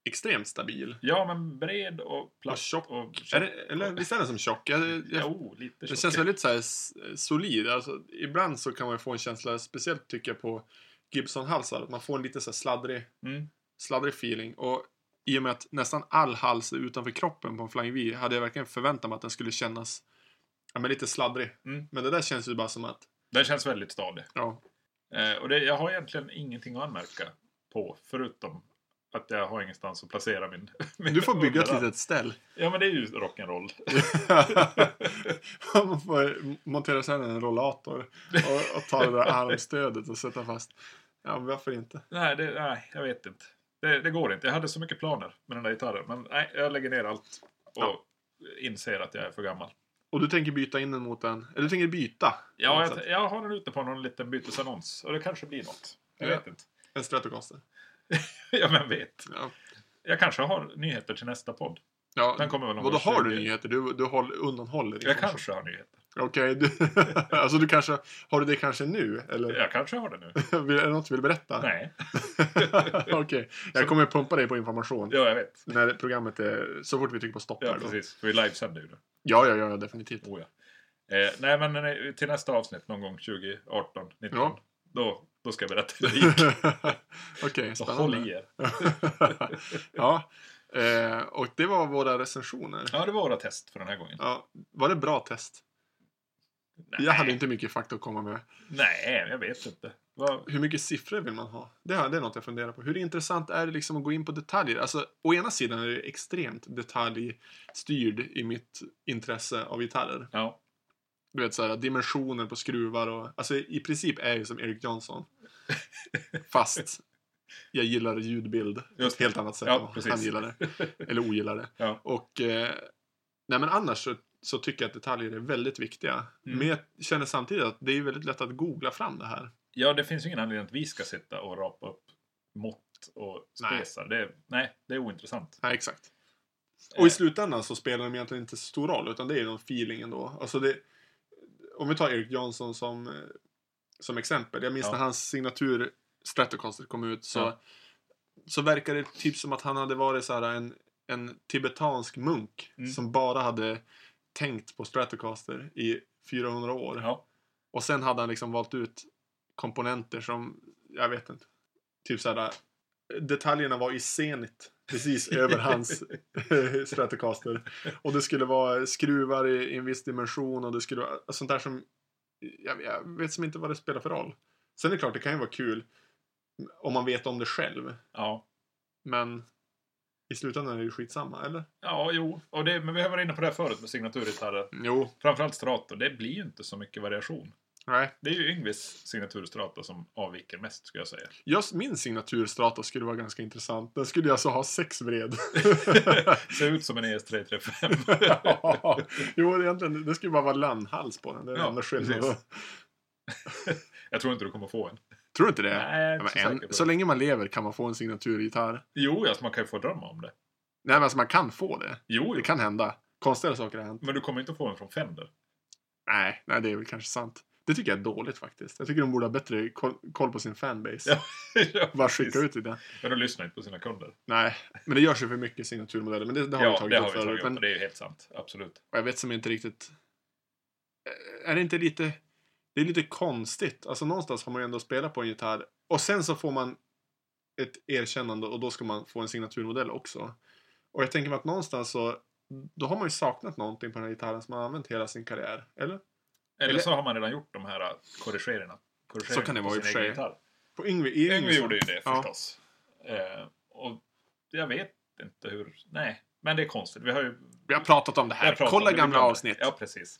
extremt stabil. Ja, men bred och platt. Och tjock. Och Är det, eller visst är den som tjock? Jag, jag, Jo, lite det tjock. känns väldigt så här s- solid. Alltså, ibland så kan man ju få en känsla, speciellt tycker jag på Gibson-halsar, att man får en lite så här sladdrig, Mm. sladdrig feeling. Och i och med att nästan all hals är utanför kroppen på en Flying V hade jag verkligen förväntat mig att den skulle kännas ja, men lite sladdrig. Mm. Men det där känns ju bara som att Den känns väldigt stadig. Ja, Eh, och det, jag har egentligen ingenting att anmärka på, förutom att jag har ingenstans att placera min... min du får bygga ett underarm. litet ställ. Ja, men det är ju rock'n'roll. Man får montera sen en rollator och, och ta det där armstödet och sätta fast. Ja, men varför inte? Nej, det, nej, jag vet inte. Det, det går inte. Jag hade så mycket planer med den där gitarren. Men nej, jag lägger ner allt och Ja. inser att jag är för gammal. Och du tänker byta in den mot en... Eller du tänker byta? på Ja, något jag, sätt. jag har den ute på någon liten bytesannons. Och det kanske blir något. Jag Ja. vet inte. En Stratocaster. ja, men vet. Ja. Jag kanske har nyheter till nästa podd. ja. Den kommer väl om Och då har du 20. nyheter? Du, du håll, undanhåller Jag information. kanske har nyheter. Okej, du, alltså du kanske, har du det kanske nu? Eller Jag kanske har det nu. vill- är det något du vill berätta? Nej. Okej, jag kommer pumpa dig på information. Ja, jag vet. När programmet är, så fort vi trycker på stopp Ja, här då. precis. Vi livesänder ju det. Ja, ja, ja, definitivt. Oh, ja. Eh, nej, men eh, till nästa avsnitt någon gång 2018, 19. Ja. Då, då ska jag berätta hur det gick. Okej, Så håll i spännande. er. ja, eh, och det var våra recensioner. Ja, det var våra test för den här gången. Ja, var det bra test? Nej, Jag hade inte mycket fakta att komma med. nej jag vet inte. Vad- Hur mycket siffror vill man ha? Det, har- det är något jag funderar på. Hur intressant är det liksom att gå in på detaljer? Alltså, å ena sidan är det extremt detaljstyrd i mitt intresse av gitarrer. Ja, Du vet såhär, dimensioner på skruvar och... Alltså i princip är jag ju som Eric Johnson. Fast jag gillar ljudbild på Just ett det. helt annat sätt Ja, än vad precis. han gillar det. Eller ogillar det. Ja. Och... Eh, nej men annars så, så tycker jag att detaljer är väldigt viktiga. Mm. Men jag känner samtidigt att det är väldigt lätt att googla fram det här. ja, det finns ju ingen anledning att vi ska sitta och rapa upp mått och Nej. spesar. Det, är- nej, det är ointressant. Nej, exakt. Och i Eh, slutändan så spelar de egentligen inte så stor roll, utan det är någon feeling ändå. Alltså det, om vi tar Erik Jansson som, eh, som exempel. Jag minns Ja. när hans signatur Stratocaster kom ut så, Ja. så verkade det typ som att han hade varit så här en, en tibetansk munk Mm. som bara hade tänkt på Stratocaster i 400 år. ja, Och sen hade han liksom valt ut komponenter som, jag vet inte. Typ såhär, detaljerna var i senigt. Precis över hans eh, Stratocaster. Och det skulle vara skruvar i, i en viss dimension och det skulle vara alltså sånt där som, jag, jag vet som inte vad det spelar för roll. Sen är det klart, det kan ju vara kul om man vet om det själv. ja. Men i slutändan är det ju skitsamma, eller? Ja, jo. Och det, men vi har varit inne på det här förut med signaturgitarrer. Jo. Framförallt strator. Det blir ju inte så mycket variation. Nej. Det är ju Yngves signaturstrata som avviker mest, skulle jag säga. Just min signaturstrata skulle vara ganska intressant. Den skulle jag alltså ha sex vred. Ser ut som en E ES335. ja. Jo, egentligen, det skulle bara vara landhals på den. Det är den Ja, enda skillnaden. precis. Jag tror inte du kommer få en. Tror du inte det? Nej, jag Ja, är inte så men säker på en, det. så länge man lever kan man få en signaturgitarr. Jo, alltså man kan ju få drömma om det. Nej, men alltså man kan få det. Jo, Det jo. kan hända. Konstiga saker har hänt. men du kommer inte få en från Fender. Nej, nej, det är väl kanske sant. Det tycker jag är dåligt faktiskt. Jag tycker de borde ha bättre koll, koll på sin fanbase. Ja, ja, Bara precis. skicka ut det. Men de lyssnar inte på sina kunder. Nej, men det görs ju för mycket signaturmodeller. Men det, det har vi ja, tagit det har upp vi tagit förut. upp. Men och Det är ju helt sant. Absolut. Och jag vet som inte riktigt... eh, Är det inte lite... Det är lite konstigt. Alltså någonstans har man ju ändå spelat på en gitarr. Och sen så får man ett erkännande och då ska man få en signaturmodell också. Och jag tänker mig att någonstans så... Då har man ju saknat någonting på den här gitarren som man har använt hela sin karriär. Eller? Eller, Eller- så har man redan gjort de här äh, korrigeringarna. korrigeringarna Så kan det på vara i sin och för egen sig. gitarr. På Yngve Yngve- Yngve gjorde ju det Ja. förstås. Eh, och jag vet inte hur... Nej, men det är konstigt. Vi har ju... Vi har pratat om det jag här. pratar om Kolla det gamla ibland. avsnitt. Ja, precis.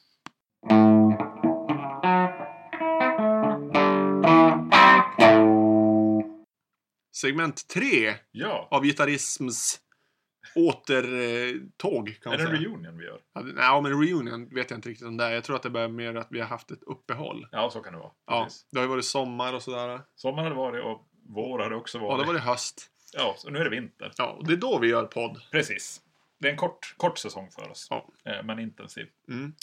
Segment 3 Ja, av gitarrisms återtåg kan man är det en säga. reunion vi gör? Ja, det- Nej, men reunion vet jag inte riktigt om det är. Jag tror att det börjar mer att vi har haft ett uppehåll. Ja, så kan det vara. Ja, Precis. det har ju varit sommar och sådär. Sommar hade varit och vår hade också varit. Ja, det var det höst. Ja, så nu är det vinter. Ja, och det är då vi gör podd. Precis. Det är en kort, kort säsong för oss. Ja. Eh, men intensiv. Mm.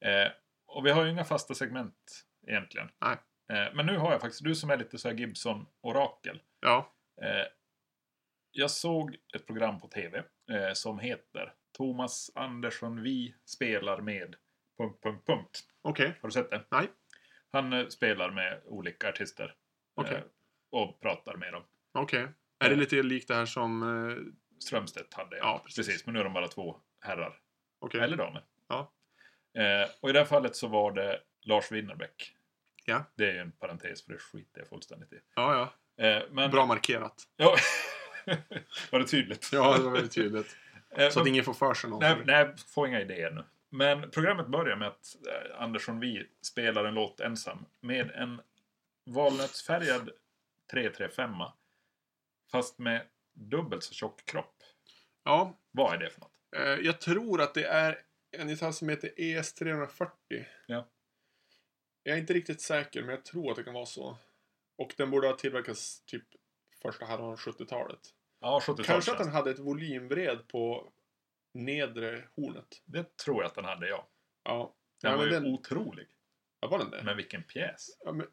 Eh, och vi har ju inga fasta segment egentligen. Nej. Eh, men nu har jag faktiskt, du som är lite så här Gibson-orakel. Ja, Eh, jag såg ett program på TV eh, som heter Thomas Andersson Vi spelar med... Punkt, punkt, punkt. okej. Har du sett det? Nej. Han eh, spelar med olika artister. Okej. Eh, och pratar med dem. Okej. Är det lite likt det här som... eh, Strömstedt hade Ja, precis. precis. Men nu är de bara två herrar. Okej. Eller damer. Ja. Eh, och i det här fallet så var det Lars Winnerbäck. Ja. Det är ju en parentes för det skiter jag fullständigt i. Ja, Eh, men... ja. Bra markerat. Ja. var det tydligt? Ja, det var väldigt tydligt. Eh, Så att men- ingen får för sig nej, någonting. nej, få inga idéer nu. Men programmet börjar med att eh, Andersson Vi spelar en låt ensam med en valnötsfärgad 335 fast med dubbelt så tjock kropp. Ja, Vad är det för något? eh, jag tror att det är en gitarr som heter E ES340. Ja. Jag är inte riktigt säker, men jag tror att det kan vara så. Och den borde ha tillverkats typ första halvan av 70-talet. Ja, 70 Kanske att den hade ett volymvred på nedre hornet. Det tror jag att den hade, ja. Ja. Den Ja, var men ju den- otrolig. Ja, var den det? Men vilken pjäs. Ja, men,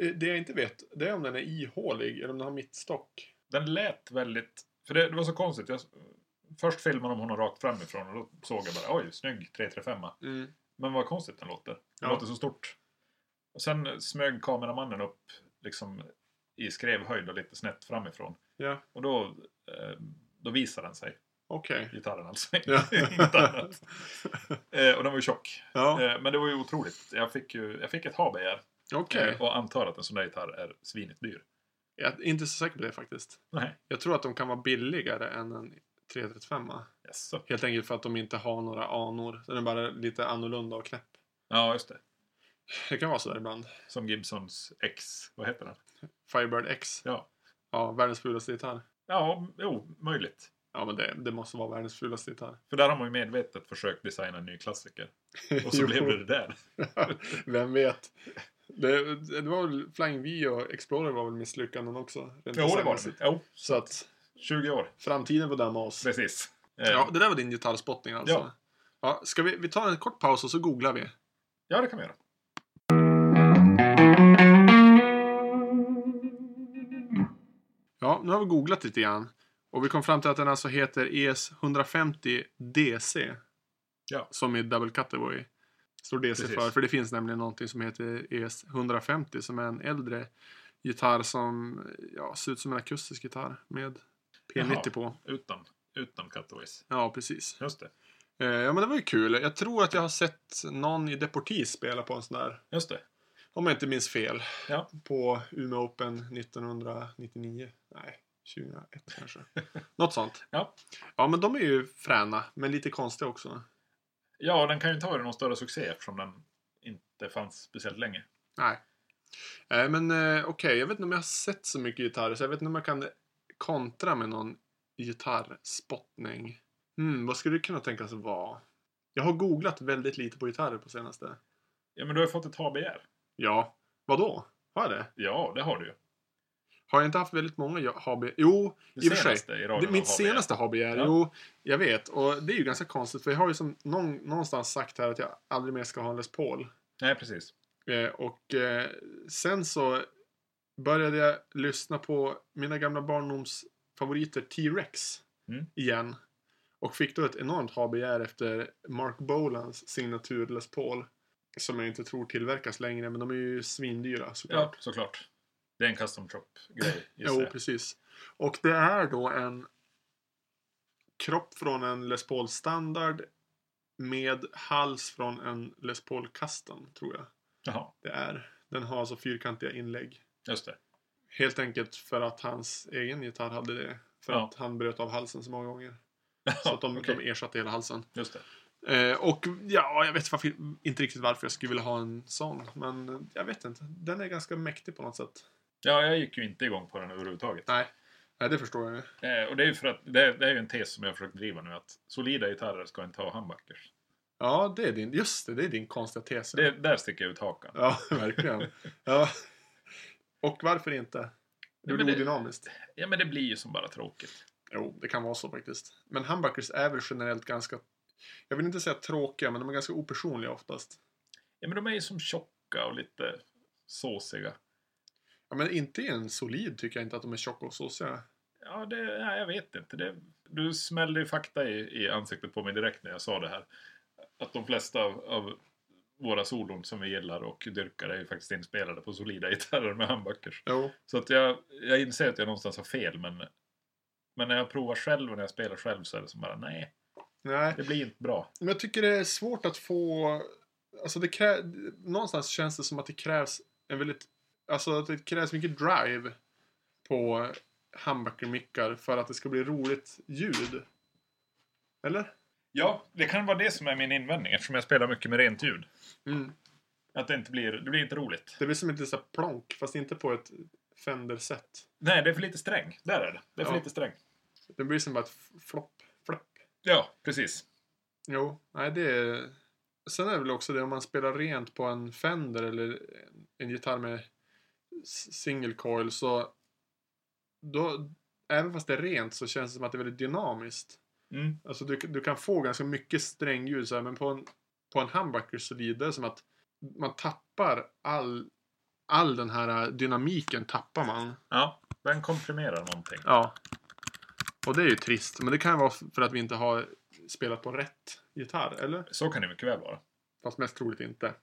eh, det jag inte vet, det är om den är ihålig eller om den har mittstock. Den lät väldigt... För det, det var så konstigt. Jag, först filmade de honom rakt framifrån och då såg jag bara oj, snygg 335 Mm. Men vad konstigt den låter. Det Ja. låter så stort. Och sen smög kameramannen upp liksom i skrevhöjd och lite snett framifrån. Ja, Och då, eh, då visade den sig. okej. Gitarren alltså. Ja. Inget annat. Eh, och den var ju tjock. Ja, Eh, men det var ju otroligt. Jag fick, ju, jag fick ett HBR okej. eh, och antar att en sån där gitarr är svinigt dyr. Jag är inte så säker på det faktiskt. Nej. Jag tror att de kan vara billigare än en 335. Jaså. Helt enkelt för att de inte har några anor. Den är bara lite annorlunda och knäpp. Ja, just det. Det kan vara sådär ibland. Som Gibsons X, vad heter den? Firebird X. Ja. Ja, världens fulaste gitarr. Ja, jo, möjligt. Ja, men det, det måste vara världens fulaste gitarr. För där har man ju medvetet försökt designa en ny klassiker. Och så Jo. blev det det där. Vem vet? Det, det var väl Flying V och Explorer var väl misslyckanden också. rent Jo, det var det. designmässigt. Jo, Så att 20 år. framtiden får döma oss. Precis. Eh, Ja, det där var din gitarrspottning alltså. Ja. Ja. Ja, ska vi, vi tar en kort paus och så googlar vi. ja, det kan vi göra. Ja, nu har vi googlat lite grann. Och vi kom fram till att den alltså heter ES150DC. Ja. Som är double category. Står DC Precis. för. För det finns nämligen någonting som heter E ES150 som är en äldre gitarr som ja, ser ut som en akustisk gitarr med P90 Jaha. på. Utan, utan Cutaways. Ja, precis. Just det. Eh, Ja, men det var ju kul. Jag tror att jag har sett någon i Deportis spela på en sån där Just det. Om jag inte minns fel. Ja. På Umeå Open 1999. Nej, 2001 kanske. Något sånt. Ja. Ja, men de är ju fräna, men lite konstiga också. Ja, den kan ju inte ha varit någon större succé eftersom den inte fanns speciellt länge. Nej. Eh, men eh, okej, jag vet inte om jag har sett så mycket gitarrer så jag vet inte om jag kan kontra med någon gitarrspottning. Hmm, vad skulle det kunna tänkas vara? Jag har googlat väldigt lite på gitarrer på senaste. Ja, men du har ju fått ett HBR. Ja, vadå? Har jag det? Ja, det har du ju. Har jag inte haft väldigt många HB? Jo, Det i och för sig. i Det, raden mitt av HBR. senaste hobby är, Ja. jo, jag vet. Och det är ju ganska konstigt för jag har ju som någon, någonstans sagt här att jag aldrig mer ska ha en Les Paul. Nej, precis. Eh, och eh, sen så började jag lyssna på mina gamla barndomsfavoriter T-Rex Mm. igen. Och fick då ett enormt HBR efter Mark Bolans signatur Les Paul. Som jag inte tror tillverkas längre, men de är ju svindyra såklart. Ja, såklart. Det är en custom shop-grej, Jo, gissar jag. precis. Och det är då en kropp från en Les Paul standard med hals från en Les Paul custom, tror jag. Jaha, Det är. Den har alltså fyrkantiga inlägg. just det. Helt enkelt för att hans egen gitarr hade det. För Ja. att han bröt av halsen så många gånger. Så att de, Okej, de ersatte hela halsen. Just det. Eh, och ja, jag vet varför, inte riktigt varför jag skulle vilja ha en sån. Men jag vet inte. Den är ganska mäktig på något sätt. Ja, jag gick ju inte igång på den överhuvudtaget. Nej, Nej det förstår jag ju. Eh, och det är ju för att, det är, det är ju en tes som jag har försökt driva nu att solida gitarrer ska inte ha humbuckers. Ja, det är din, just det, det är din konstiga tes. Det, där sticker jag ut hakan. Ja, verkligen. ja. Och varför inte? Det blir Nej, men det- odynamiskt. Ja, men det blir ju som bara tråkigt. Jo, det kan vara så faktiskt. Men humbuckers är väl generellt ganska, jag vill inte säga tråkiga, men de är ganska opersonliga oftast. Ja, men de är ju som tjocka och lite såsiga. Ja, men inte i en solid tycker jag inte att de är tjocka och såsiga. Ja, det, ja jag vet inte. Det, du smällde ju fakta i, i ansiktet på mig direkt när jag sa det här. Att de flesta av, av våra solon som vi gillar och dyrkar är ju faktiskt inspelade på solida gitarrer med humbuckers. Jo. Så att jag, jag inser att jag någonstans har fel, men, men när jag provar själv och när jag spelar själv så är det som bara nej, Nej, det blir inte bra. men jag tycker det är svårt att få, alltså det krä... någonstans känns det som att det krävs en väldigt, alltså att det krävs mycket drive på humbucker-mickar för att det ska bli roligt ljud. Eller? Ja, det kan vara det som är min invändning eftersom jag spelar mycket med rent ljud. Mm. Att det inte blir, det blir inte roligt. Det blir som ett litet så här plonk, fast inte på ett Fender-sätt. Nej, det är för lite sträng. Där är det. Det är för Ja. lite sträng. Det blir som bara ett f- flopp, flopp. Ja, precis. Jo, nej det är... Sen är det väl också det om man spelar rent på en Fender eller en gitarr med s- single coil så då, även fast det är rent så känns det som att det är väldigt dynamiskt. Mm. Alltså du, du kan få ganska mycket strängljud så här, men på en på en humbucker så blir det som att man tappar all, all den här dynamiken tappar man. Ja, den komprimerar någonting. Ja. Och det är ju trist. Men det kan ju vara för att vi inte har spelat på rätt gitarr, eller? Så kan det mycket väl vara. Fast mest troligt inte.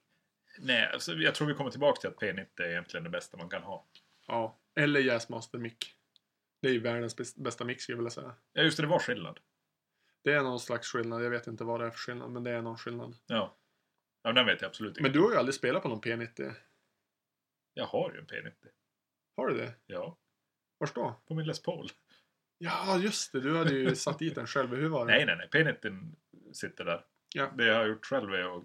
Nej, alltså, jag tror vi kommer tillbaka till att P90 är egentligen det bästa man kan ha. Ja. Eller Jazzmaster Mic. Det är ju världens bäst- bästa mix skulle jag vilja säga. Ja, just det, det var skillnad. Det är någon slags skillnad. Jag vet inte vad det är för skillnad, men det är någon skillnad. Ja. Ja, men den vet jag absolut inte. Men du har ju aldrig spelat på någon P90. Jag har ju en P90. Har du det? Ja, Vars då? på min Les Paul. Ja, just det. Du hade ju satt dit den själv. Hur var det? Nej, nej, nej. P90 sitter där. Ja. Det jag har gjort själv är att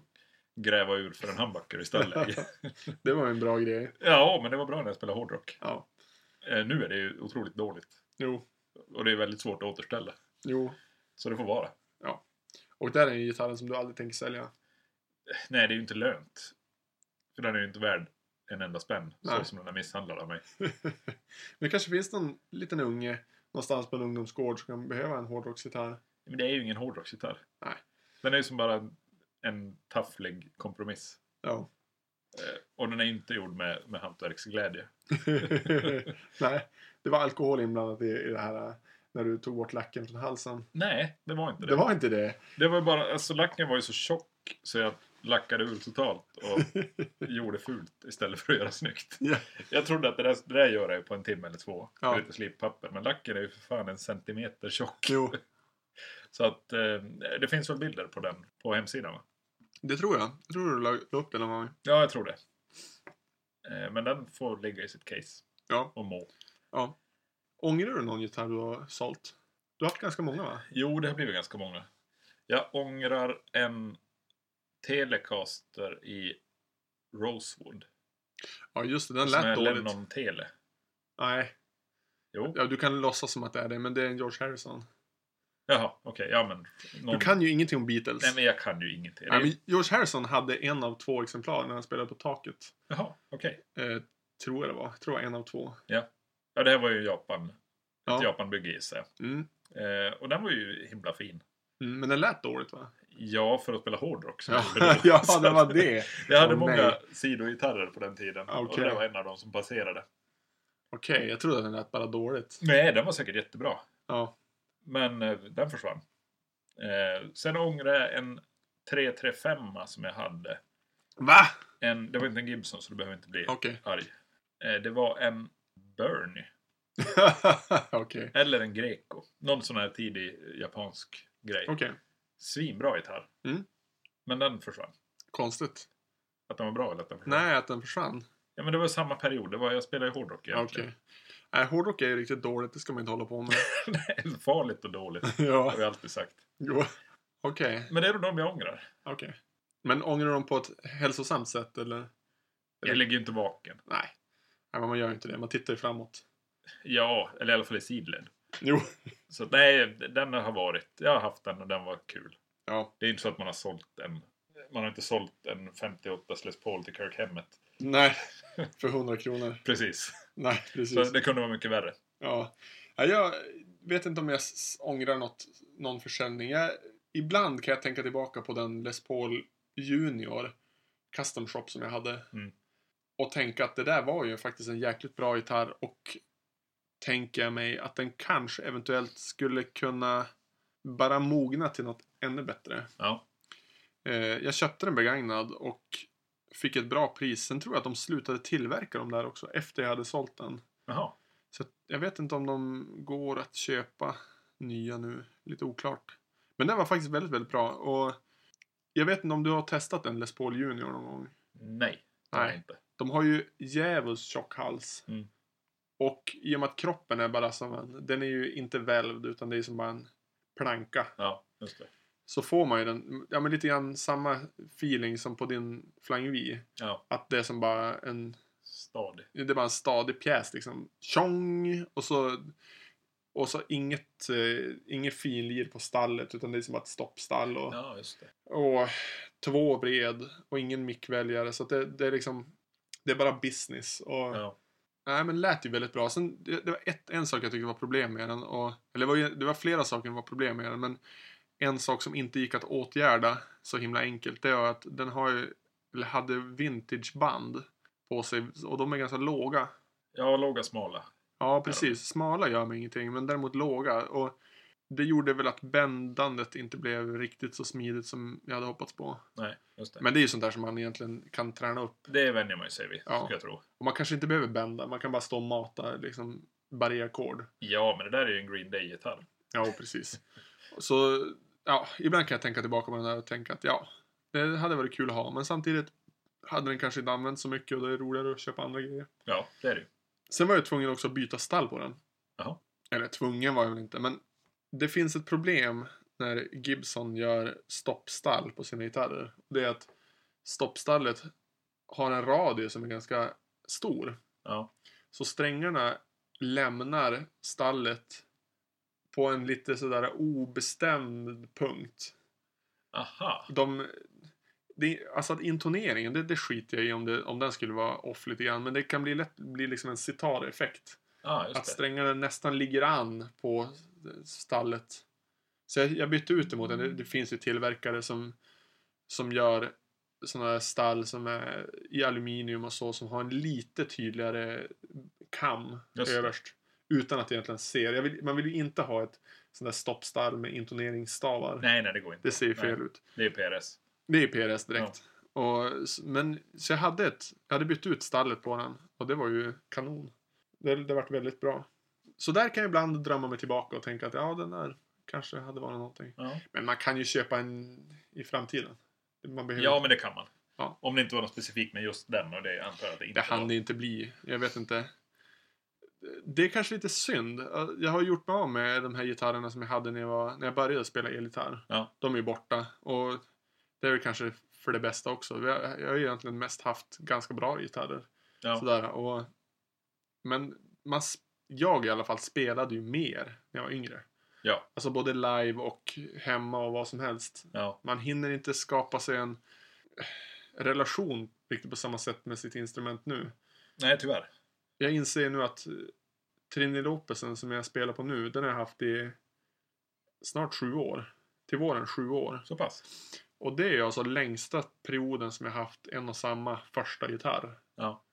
gräva ur för en humbucker i stöldläge. Det var ju en bra grej. ja, men det var bra när jag spelade hårdrock. Ja. Eh, nu är det ju otroligt dåligt. Jo. Och det är väldigt svårt att återställa. Jo. Så det får vara. Och där är ju gitarren som du aldrig tänker sälja. Nej, det är ju inte lönt. För den är ju inte värd en enda spänn. Så Nej. som den är misshandlad av mig. Men det kanske finns någon liten unge någonstans på en ungdomsgård som kan behöva en hårdrocksgitarr. Men det är ju ingen hårdrocksgitarr. Nej. Den är ju som bara en, en tafflig kompromiss. Ja. Eh, och den är inte gjord med, med hantverksglädje. Nej, det var alkohol inblandat i, i det här eh, när du tog bort lacken från halsen. Nej, det var inte det. Det var inte det. Det var ju bara, alltså lacken var ju så tjock så jag lackade ur totalt och gjorde fult istället för att göra snyggt. Ja. Jag trodde att det där, det där gör jag ju på en timme eller två. Ja. Med lite slippapper. Men lacken är ju för fan en centimeter tjock. Jo, Så att eh, det finns väl bilder på den på hemsidan va? det tror jag. Jag tror du la la upp det någon gång. Ja, jag tror det. Eh, men den får ligga i sitt case Ja. och må. ja. Ångrar du någon gitarr du har sålt? Du har haft ganska många va? Jo, det har blivit ganska många. Jag ångrar en Telecaster i Rosewood. Ja, just det. Den Som är lät dåligt. Lennon Tele. Nej, Jo. ja, du kan låtsas som att det är det, men det är en George Harrison. Jaha, okej. Ja, men... Någon... Du kan ju ingenting om Beatles. Nej, men jag kan ju ingenting. Nej, men George Harrison hade en av två exemplar när han spelade på taket. Jaha, okej. Eh, tror jag det var. Jag tror det var en av två. Ja, det här var ju Japan. Ett Ja. Japanbygge gissar jag. Mm. Eh, och den var ju himla fin. Mm, men den lät dåligt va? Ja, för att spela hårdrock. så Ja, gjorde det. ja Så det att- var det. Jag hade Åh, många nej. sidogitarrer på den tiden. Och Okej. det var en av dem som passerade. Okej, jag trodde att den lät bara dåligt. Nej, den var säkert jättebra. Ja. Men eh, den försvann. Eh, sen ångrade jag en 335 som jag hade. Va? En, det var inte en Gibson, så du behöver inte bli Okej. arg. Eh, det var en Burn. Okej. Eller en Greco. Någon sån här tidig japansk grej. Okej. Svinbra gitarr. Mm. Men den försvann. Konstigt. Att den var bra eller att den försvann. Nej, att den försvann. Ja, men det var samma period. Det var, jag spelade ju hårdrock Okej. egentligen. Nej, hårdrock är ju riktigt dåligt. Det ska man inte hålla på med. Okay. Farligt och dåligt. ja. Har jag alltid sagt. Jo. Okej. Men det är nog de jag ångrar. Okej. Men ångrar du dem på ett hälsosamt sätt eller? Jag ligger ju inte vaken. Nej. Nej, men man gör ju inte det. Man tittar ju framåt. Ja, eller i alla fall i sidled. Jo. Så att, nej, den har varit. Jag har haft den och den var kul. Ja. Det är inte så att man har sålt en. Man har inte sålt en 58 Les Paul till Kirkhemmet. Nej. För 100 kronor. Precis. Nej, Så precis. det kunde vara mycket värre. Ja. Ja, jag vet inte om jag s- ångrar något, någon försäljning. Jag, ibland kan jag tänka tillbaka på den Les Paul Junior Custom Shop som jag hade. Mm. Och tänka att det där var ju faktiskt en jäkligt bra gitarr och tänker jag mig att den kanske eventuellt skulle kunna bara mogna till något ännu bättre. Ja. Eh, jag köpte den begagnad och fick ett bra pris. Sen tror jag att de slutade tillverka dem där också efter jag hade sålt den. Jaha. Så att jag vet inte om de går att köpa nya nu. Lite oklart. Men den var faktiskt väldigt, väldigt bra. Och jag vet inte om du har testat en Les Paul Junior någon gång. Nej. det har jag Nej. Inte. De har ju djävulskt tjock hals. Mm. Och i och med att kroppen är bara som en... Den är ju inte välvd utan det är som bara en planka. Ja, just det. Så får man ju den... Ja men lite grann samma feeling som på din Flying V. Ja, Att det är som bara en stadig. Det är bara en stadig pjäs liksom. Tjong! Och så, och så inget, eh, inget finlir på stallet utan det är som bara ett stoppstall. Och, Ja, just det. och två bred och ingen mickväljare. Så att det, det är liksom, det är bara business. Och, Ja. Nej men lät ju väldigt bra. Sen, det, det var ett, en sak jag tyckte var problem med den. Och, eller det var, ju- det var flera saker som var problem med den. Men En sak som inte gick att åtgärda så himla enkelt det var att den har ju, eller hade vintageband på sig och de är ganska låga. Ja, låga smala. Ja, precis. Smala gör mig ingenting, men däremot låga. Och det gjorde väl att bändandet inte blev riktigt så smidigt som jag hade hoppats på. Nej, just det. Men det är ju sånt där som man egentligen kan träna upp. Det vänjer man ju sig vid, Ja. skulle jag tro. Och man kanske inte behöver bända, man kan bara stå och mata liksom barréackord. Ja, men det där är ju en Green Day-gitarr. Ja, precis. Så, ja, ibland kan jag tänka tillbaka på den där och tänka att ja, det hade varit kul att ha. Men samtidigt hade den kanske inte använts så mycket och då är det roligare att köpa andra grejer. Ja, det är det ju. Sen var jag tvungen också att byta stall på den. Jaha. Eller tvungen var jag väl inte, men det finns ett problem när Gibson gör stoppstall på sina gitarrer. Det är att stoppstallet har en radie som är ganska stor. Ja. Så strängarna lämnar stallet på en lite sådär obestämd punkt. Aha. De, det, alltså att intoneringen, det, det skiter jag i om, det, om den skulle vara off lite grann. Men det kan bli, lätt, bli liksom en sitareffekt. Ja, just Att det. strängarna nästan ligger an på stallet. Så jag, jag bytte ut det mot en. Det, Mm. det finns ju tillverkare som, som gör sådana här stall som är i aluminium och så som har en lite tydligare kam Just det. överst. Utan att egentligen se det. Jag vill, man vill ju inte ha ett sånt där stoppstall med intoneringsstavar. Nej, nej, det går inte. Det ser ju fel Nej, ut. det är PRS. Det är PRS direkt. Och, s- men, så jag hade, ett, jag hade bytt ut stallet på den och det var ju kanon. Det, det varit väldigt bra. Så där kan jag ibland drömma mig tillbaka och tänka att ja, den där kanske hade varit någonting. Ja. Men man kan ju köpa en i framtiden. Man behöver, ja, men det kan man. Ja. Om det inte var något specifikt med just den och det antar jag att det inte det var. hann det inte bli. Jag vet inte. Det är kanske lite synd. Jag har gjort mig av med de här gitarrerna som jag hade när jag, var, när jag började spela elgitarr. Ja. De är ju borta. Och det är väl kanske för det bästa också. Jag jag har ju egentligen mest haft ganska bra gitarrer. Ja. Sådär, och, men man, s- jag i alla fall spelade ju mer när jag var yngre. Ja. Alltså både live och hemma och vad som helst. Ja. Man hinner inte skapa sig en relation riktigt på samma sätt med sitt instrument nu. Nej, tyvärr. Jag inser nu att eh, Trinilopesen som jag spelar på nu, den har jag haft i snart sju år. Till våren sju år. Så pass. Och det är alltså längsta perioden som jag haft en och samma första gitarr. Ja.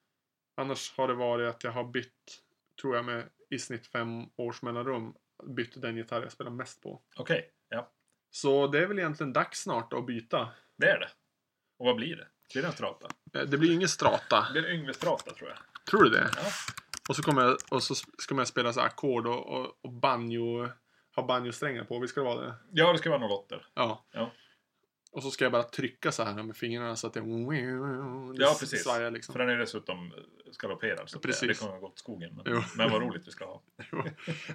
Annars har det varit att jag har bytt, tror jag med i snitt fem års mellanrum, bytt den gitarr jag spelar mest på. Okej. Ja. Så det är väl egentligen dags snart att byta. Det är det. Och vad blir det? Blir det en strata? Eh, Det blir ingen strata. Det blir en Yngve-strata, tror jag. Tror du det? Ja. Och så kommer jag, och så ska man spela så här ackord och, och, och banjo, ha banjosträngar på. Visst ska det vara det? Ja, det ska vara några lotter. Ja. Ja. Och så ska jag bara trycka så här med fingrarna så att det, Ja, precis. svajar För liksom. den är dessutom skaloperad. Så att Precis. Det, det kommer gå åt skogen. Men, Jo. men vad roligt vi ska ha. Nej,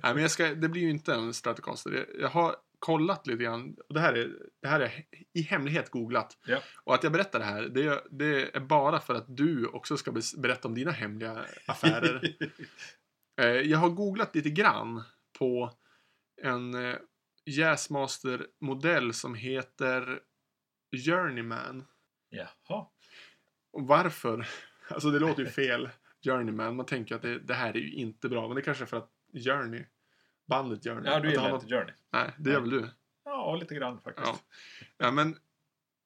men jag ska, det blir ju inte en Stratocaster. Jag, jag har kollat lite grann. Och det här är, det här är he- i hemlighet googlat. Ja. Och att jag berättar det här, det, är- det är bara för att du också ska bes- berätta om dina hemliga affärer. Eh, Jag har googlat lite grann på en eh, Jazzmaster-modell som heter Journeyman. Jaha. Och varför? Alltså det låter ju fel. Journeyman. Man tänker att det, det här är ju inte bra. Men det kanske är för att Journey, bandet Journey. Ja, att det du har gillar något- inte Journey? Nej, det gör Nej. väl du? Ja, lite grann faktiskt. Ja. ja men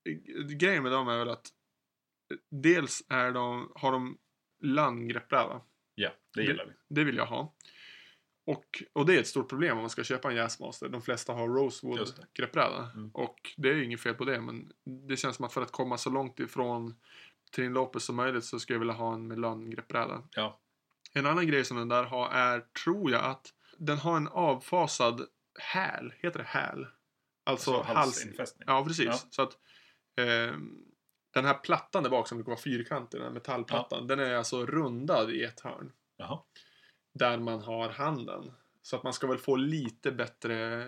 eh, grejen med dem är väl att eh, dels är de, har de landgreppbräda. Ja, det gillar vi. Det vill jag ha. Och, och det är ett stort problem om man ska köpa en Jazzmaster. De flesta har Rosewood Just det. greppbräda. Mm. Och det är ju inget fel på det. Men det känns som att för att komma så långt ifrån Trin Lopez som möjligt så skulle jag vilja ha en Melan-greppbräda. Ja. En annan grej som den där har är, tror jag, att den har en avfasad häl. Heter det häl? Alltså, Så hals... halsinfästning. Ja, precis. Ja. Så att ehm, den här plattan där bak som brukar vara fyrkantig, den här metallplattan, den är alltså rundad i ett hörn Jaha. där man har handen. Så att man ska väl få lite bättre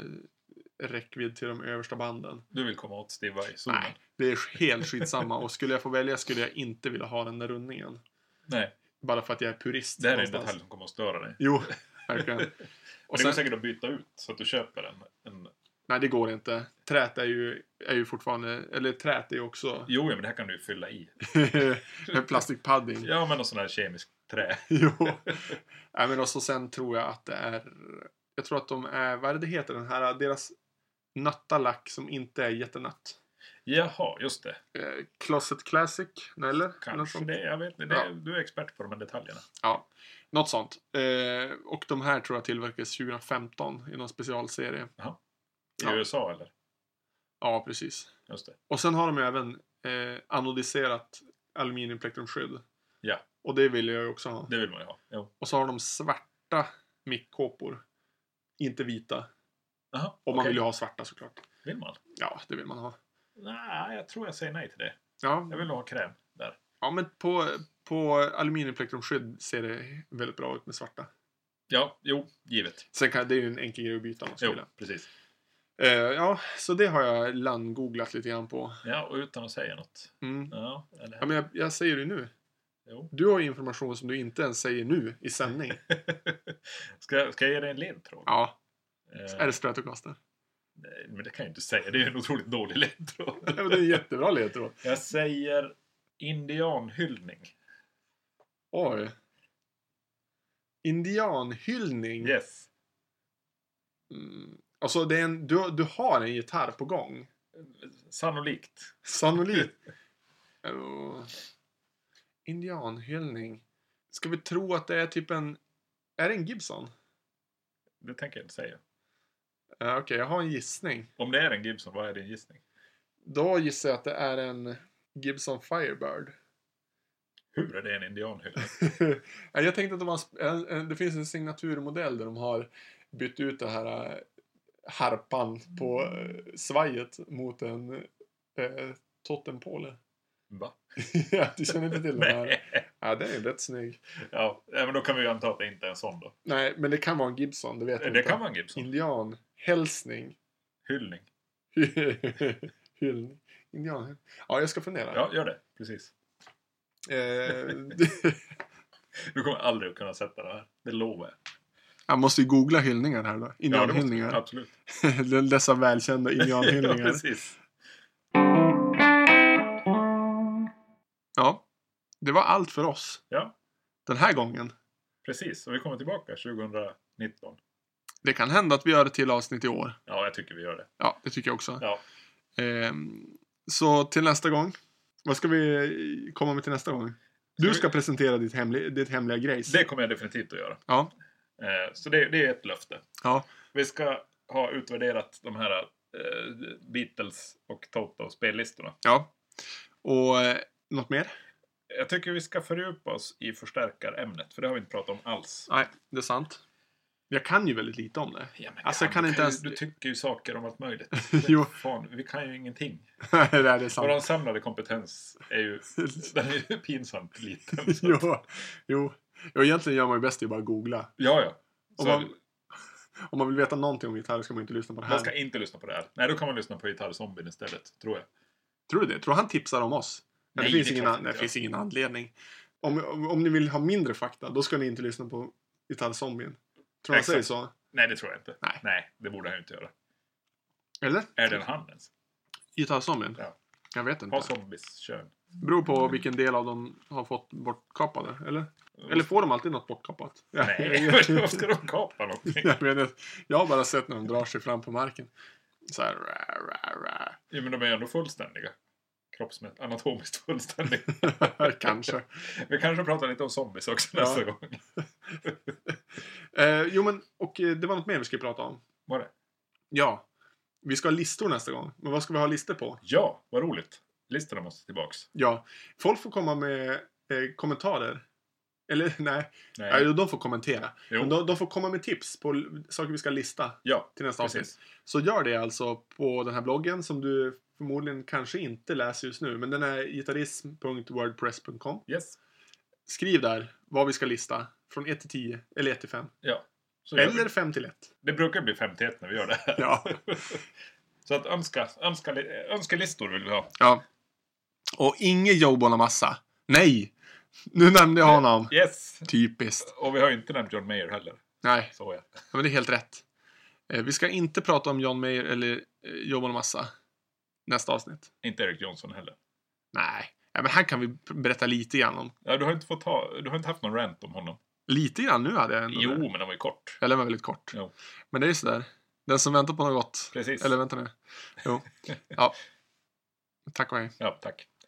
räckvidd till de översta banden. Du vill komma åt Steve Vai? Nej, det är helt skitsamma. Och skulle jag få välja skulle jag inte vilja ha den där rundningen. Nej. Bara för att jag är purist. Det här är en någonstans. detalj som kommer att störa dig. Jo, verkligen. Och Och det går sen, säkert att byta ut så att du köper en... en... nej, det går inte. Trät är ju, är ju fortfarande, eller trät är ju också Jo, ja, men det här kan du ju fylla i. med plastikpadding. Ja, men någon sån här kemisk trä. Jo. Nej, men också sen tror jag att det är... Jag tror att de är... Vad är det det heter? Den här, deras nötta lack som inte är jättenött. Jaha, just det. Eh, Closet Classic, eller? Något Kanske sånt. det. Jag vet inte. Det, Ja. Du är expert på de här detaljerna. Ja, något sånt. Eh, och de här tror jag tillverkades 2015 i någon specialserie. I Ja. USA eller? Ja, precis. Just det. Och sen har de ju även eh, anodiserat aluminiumplektrumskydd. Ja. Och det vill jag ju också ha. Det vill man ju ha. Jo. Och så har de svarta mickkåpor. Inte vita. Jaha, Och man okej. vill ju ha svarta såklart. Vill man? Ja, det vill man ha. Nej, jag tror jag säger nej till det. Ja, Jag vill nog ha kräm där. ja men på, på aluminiumplektrumskydd ser det väldigt bra ut med svarta. Ja, jo, givet. Sen kan, det är ju en enkel grej att byta om man skulle Jo, vilja. precis. Eh, ja, så det har jag landgooglat lite grann på. Ja, och utan att säga något. Mm. Ja, eller? Ja, men jag, jag säger det nu. Jo. Du har ju information som du inte ens säger nu i sändning. ska, jag- ska jag ge dig en ledtråd? Ja, Eh, är det Stratocaster? nej, men det kan jag inte säga. Det är en otroligt dålig ledtråd. Ja, men det är en jättebra ledtråd. Jag säger indianhyllning. Oj. Indianhyllning. Yes. Mm. Alltså, det är en, du, du har en gitarr på gång. Sannolikt. Sannolikt. Eh, Indianhyllning. Ska vi tro att det är typ en... Är det en Gibson? Det tänker jag inte säga. Ja, Eh, Okej, jag har en gissning. Om det är en Gibson, vad är din gissning? Då gissar jag att det är en Gibson Firebird. Hur är det en indianhyllning? Nej, jag tänkte att de har, sp- en- en- det finns en signaturmodell där de har bytt ut det här eh, harpan på eh, svajet mot en eh, totempåle. Va? Ja, du känner inte till den här? Nej. Ja, den är rätt snygg. Ja, eh, men då kan vi ju anta att det inte är en sån då. Nej, men det kan vara en Gibson, det vet jag Det inte. kan vara en Gibson. Indian. Hälsning. Hyllning. Hyllning. Indian. Ja, jag ska fundera. Ja, gör det. Precis. Eh, Du kommer aldrig att kunna sätta det här. Det lovar jag. jag måste ju googla hyllningar här då. Ja, det måste- Indianhyllningar. Absolut. Dessa välkända Ja, indianhyllningar. precis. Ja, det var allt för oss Ja, den här gången. precis. Och vi kommer tillbaka 2019. Det kan hända att vi gör ett till avsnitt i år. Ja, jag tycker vi gör det. Ja, det tycker jag också. Ja. Ehm, så till nästa gång. Vad ska vi komma med till nästa gång? Du vi- ska presentera ditt, hemli- ditt hemliga grejs. Det kommer jag definitivt att göra. Ja, Eh, Så det, det är ett löfte. ja, Vi ska ha utvärderat de här eh, Beatles och Toto-spellistorna. ja. Och eh, något mer? Jag tycker vi ska fördjupa oss i förstärkarämnet, för det har vi inte pratat om alls. Nej, det är sant. Jag kan ju väldigt lite om det. Ja, men Alltså, jag kan du inte ju- ens- Du tycker ju saker om allt möjligt. Jo. Fan, vi kan ju ingenting. Nej, det är sant. Vår samlade kompetens är ju, den är ju pinsamt liten. jo, jo. jo, egentligen gör man ju bäst i att bara googla. Ja, ja. Om Så man, om man vill veta någonting om gitarr ska man inte lyssna på det här. man ska inte lyssna på det här. Nej, då kan man lyssna på Gitarrzombien istället, tror jag. Tror du det? Tror han tipsar om oss? Nej, Nej, det, finns det är ingen, klart an- inte. det finns ingen anledning. Om, om, om ni vill ha mindre fakta, då ska ni inte lyssna på Gitarrzombien. Tror han Exakt. säger så? Nej, det tror jag inte. Nej. det borde han ju inte göra. Eller? Är det en han ens? Gitarrzombien? Ja. Jag vet inte. Har zombies kön? Beror på vilken del av dem har fått bortkapade, eller? Eller får de alltid något bortkapat? Nej, jag, varför ska de kapa någonting? jag, vet inte. jag har bara sett när de drar sig fram på marken. Så här, rah, rah, rah. Jo, men de är ju ändå fullständiga. Kroppsmässigt, anatomiskt fullständiga. Kanske. Vi kanske pratar lite om zombies också Ja. nästa gång. Eh, jo, men och eh, det var något mer vi skulle prata om. Var det? Ja. Vi ska ha listor nästa gång. Men vad ska vi ha listor på? Ja, vad roligt. Listorna måste tillbaks. Ja, folk får komma med eh, kommentarer. Eller nej, Nej. nej. de får kommentera. Jo. Men de, de får komma med tips på l- saker vi ska lista Ja, till nästa avsnitt. precis. Så gör det alltså på den här bloggen som du förmodligen kanske inte läser just nu. Men den är gitarrism.wordpress.com. Yes. Skriv där vad vi ska lista. Från 1 till 10, eller 1 till 5. Ja. Så gör vi. Eller 5 till 1. Det brukar bli 51 när vi gör det här. Ja. Så att önska, önska, önskelistor vill vi ha. ja. Och ingen Joe Bonamassa. Nej! Nu nämnde jag honom. Yes! Typiskt. Och vi har ju inte nämnt John Mayer heller. Nej. Så ja. Ja, men det är helt rätt. Eh, vi ska inte prata om John Mayer eller eh, Joe Massa nästa avsnitt. Inte Eric Johnson heller. Nej, ja, men här kan vi p- berätta lite grann om. Ja, du har inte fått ta, du har inte haft någon rant om honom. Lite grann nu hade jag ändå Jo, det. men den var ju kort. Eller den var väldigt kort. Jo. Men det är sådär. Den som väntar på något gott. Precis. Eller vänta nu. Jo. Ja. Tack och hej. Ja, tack.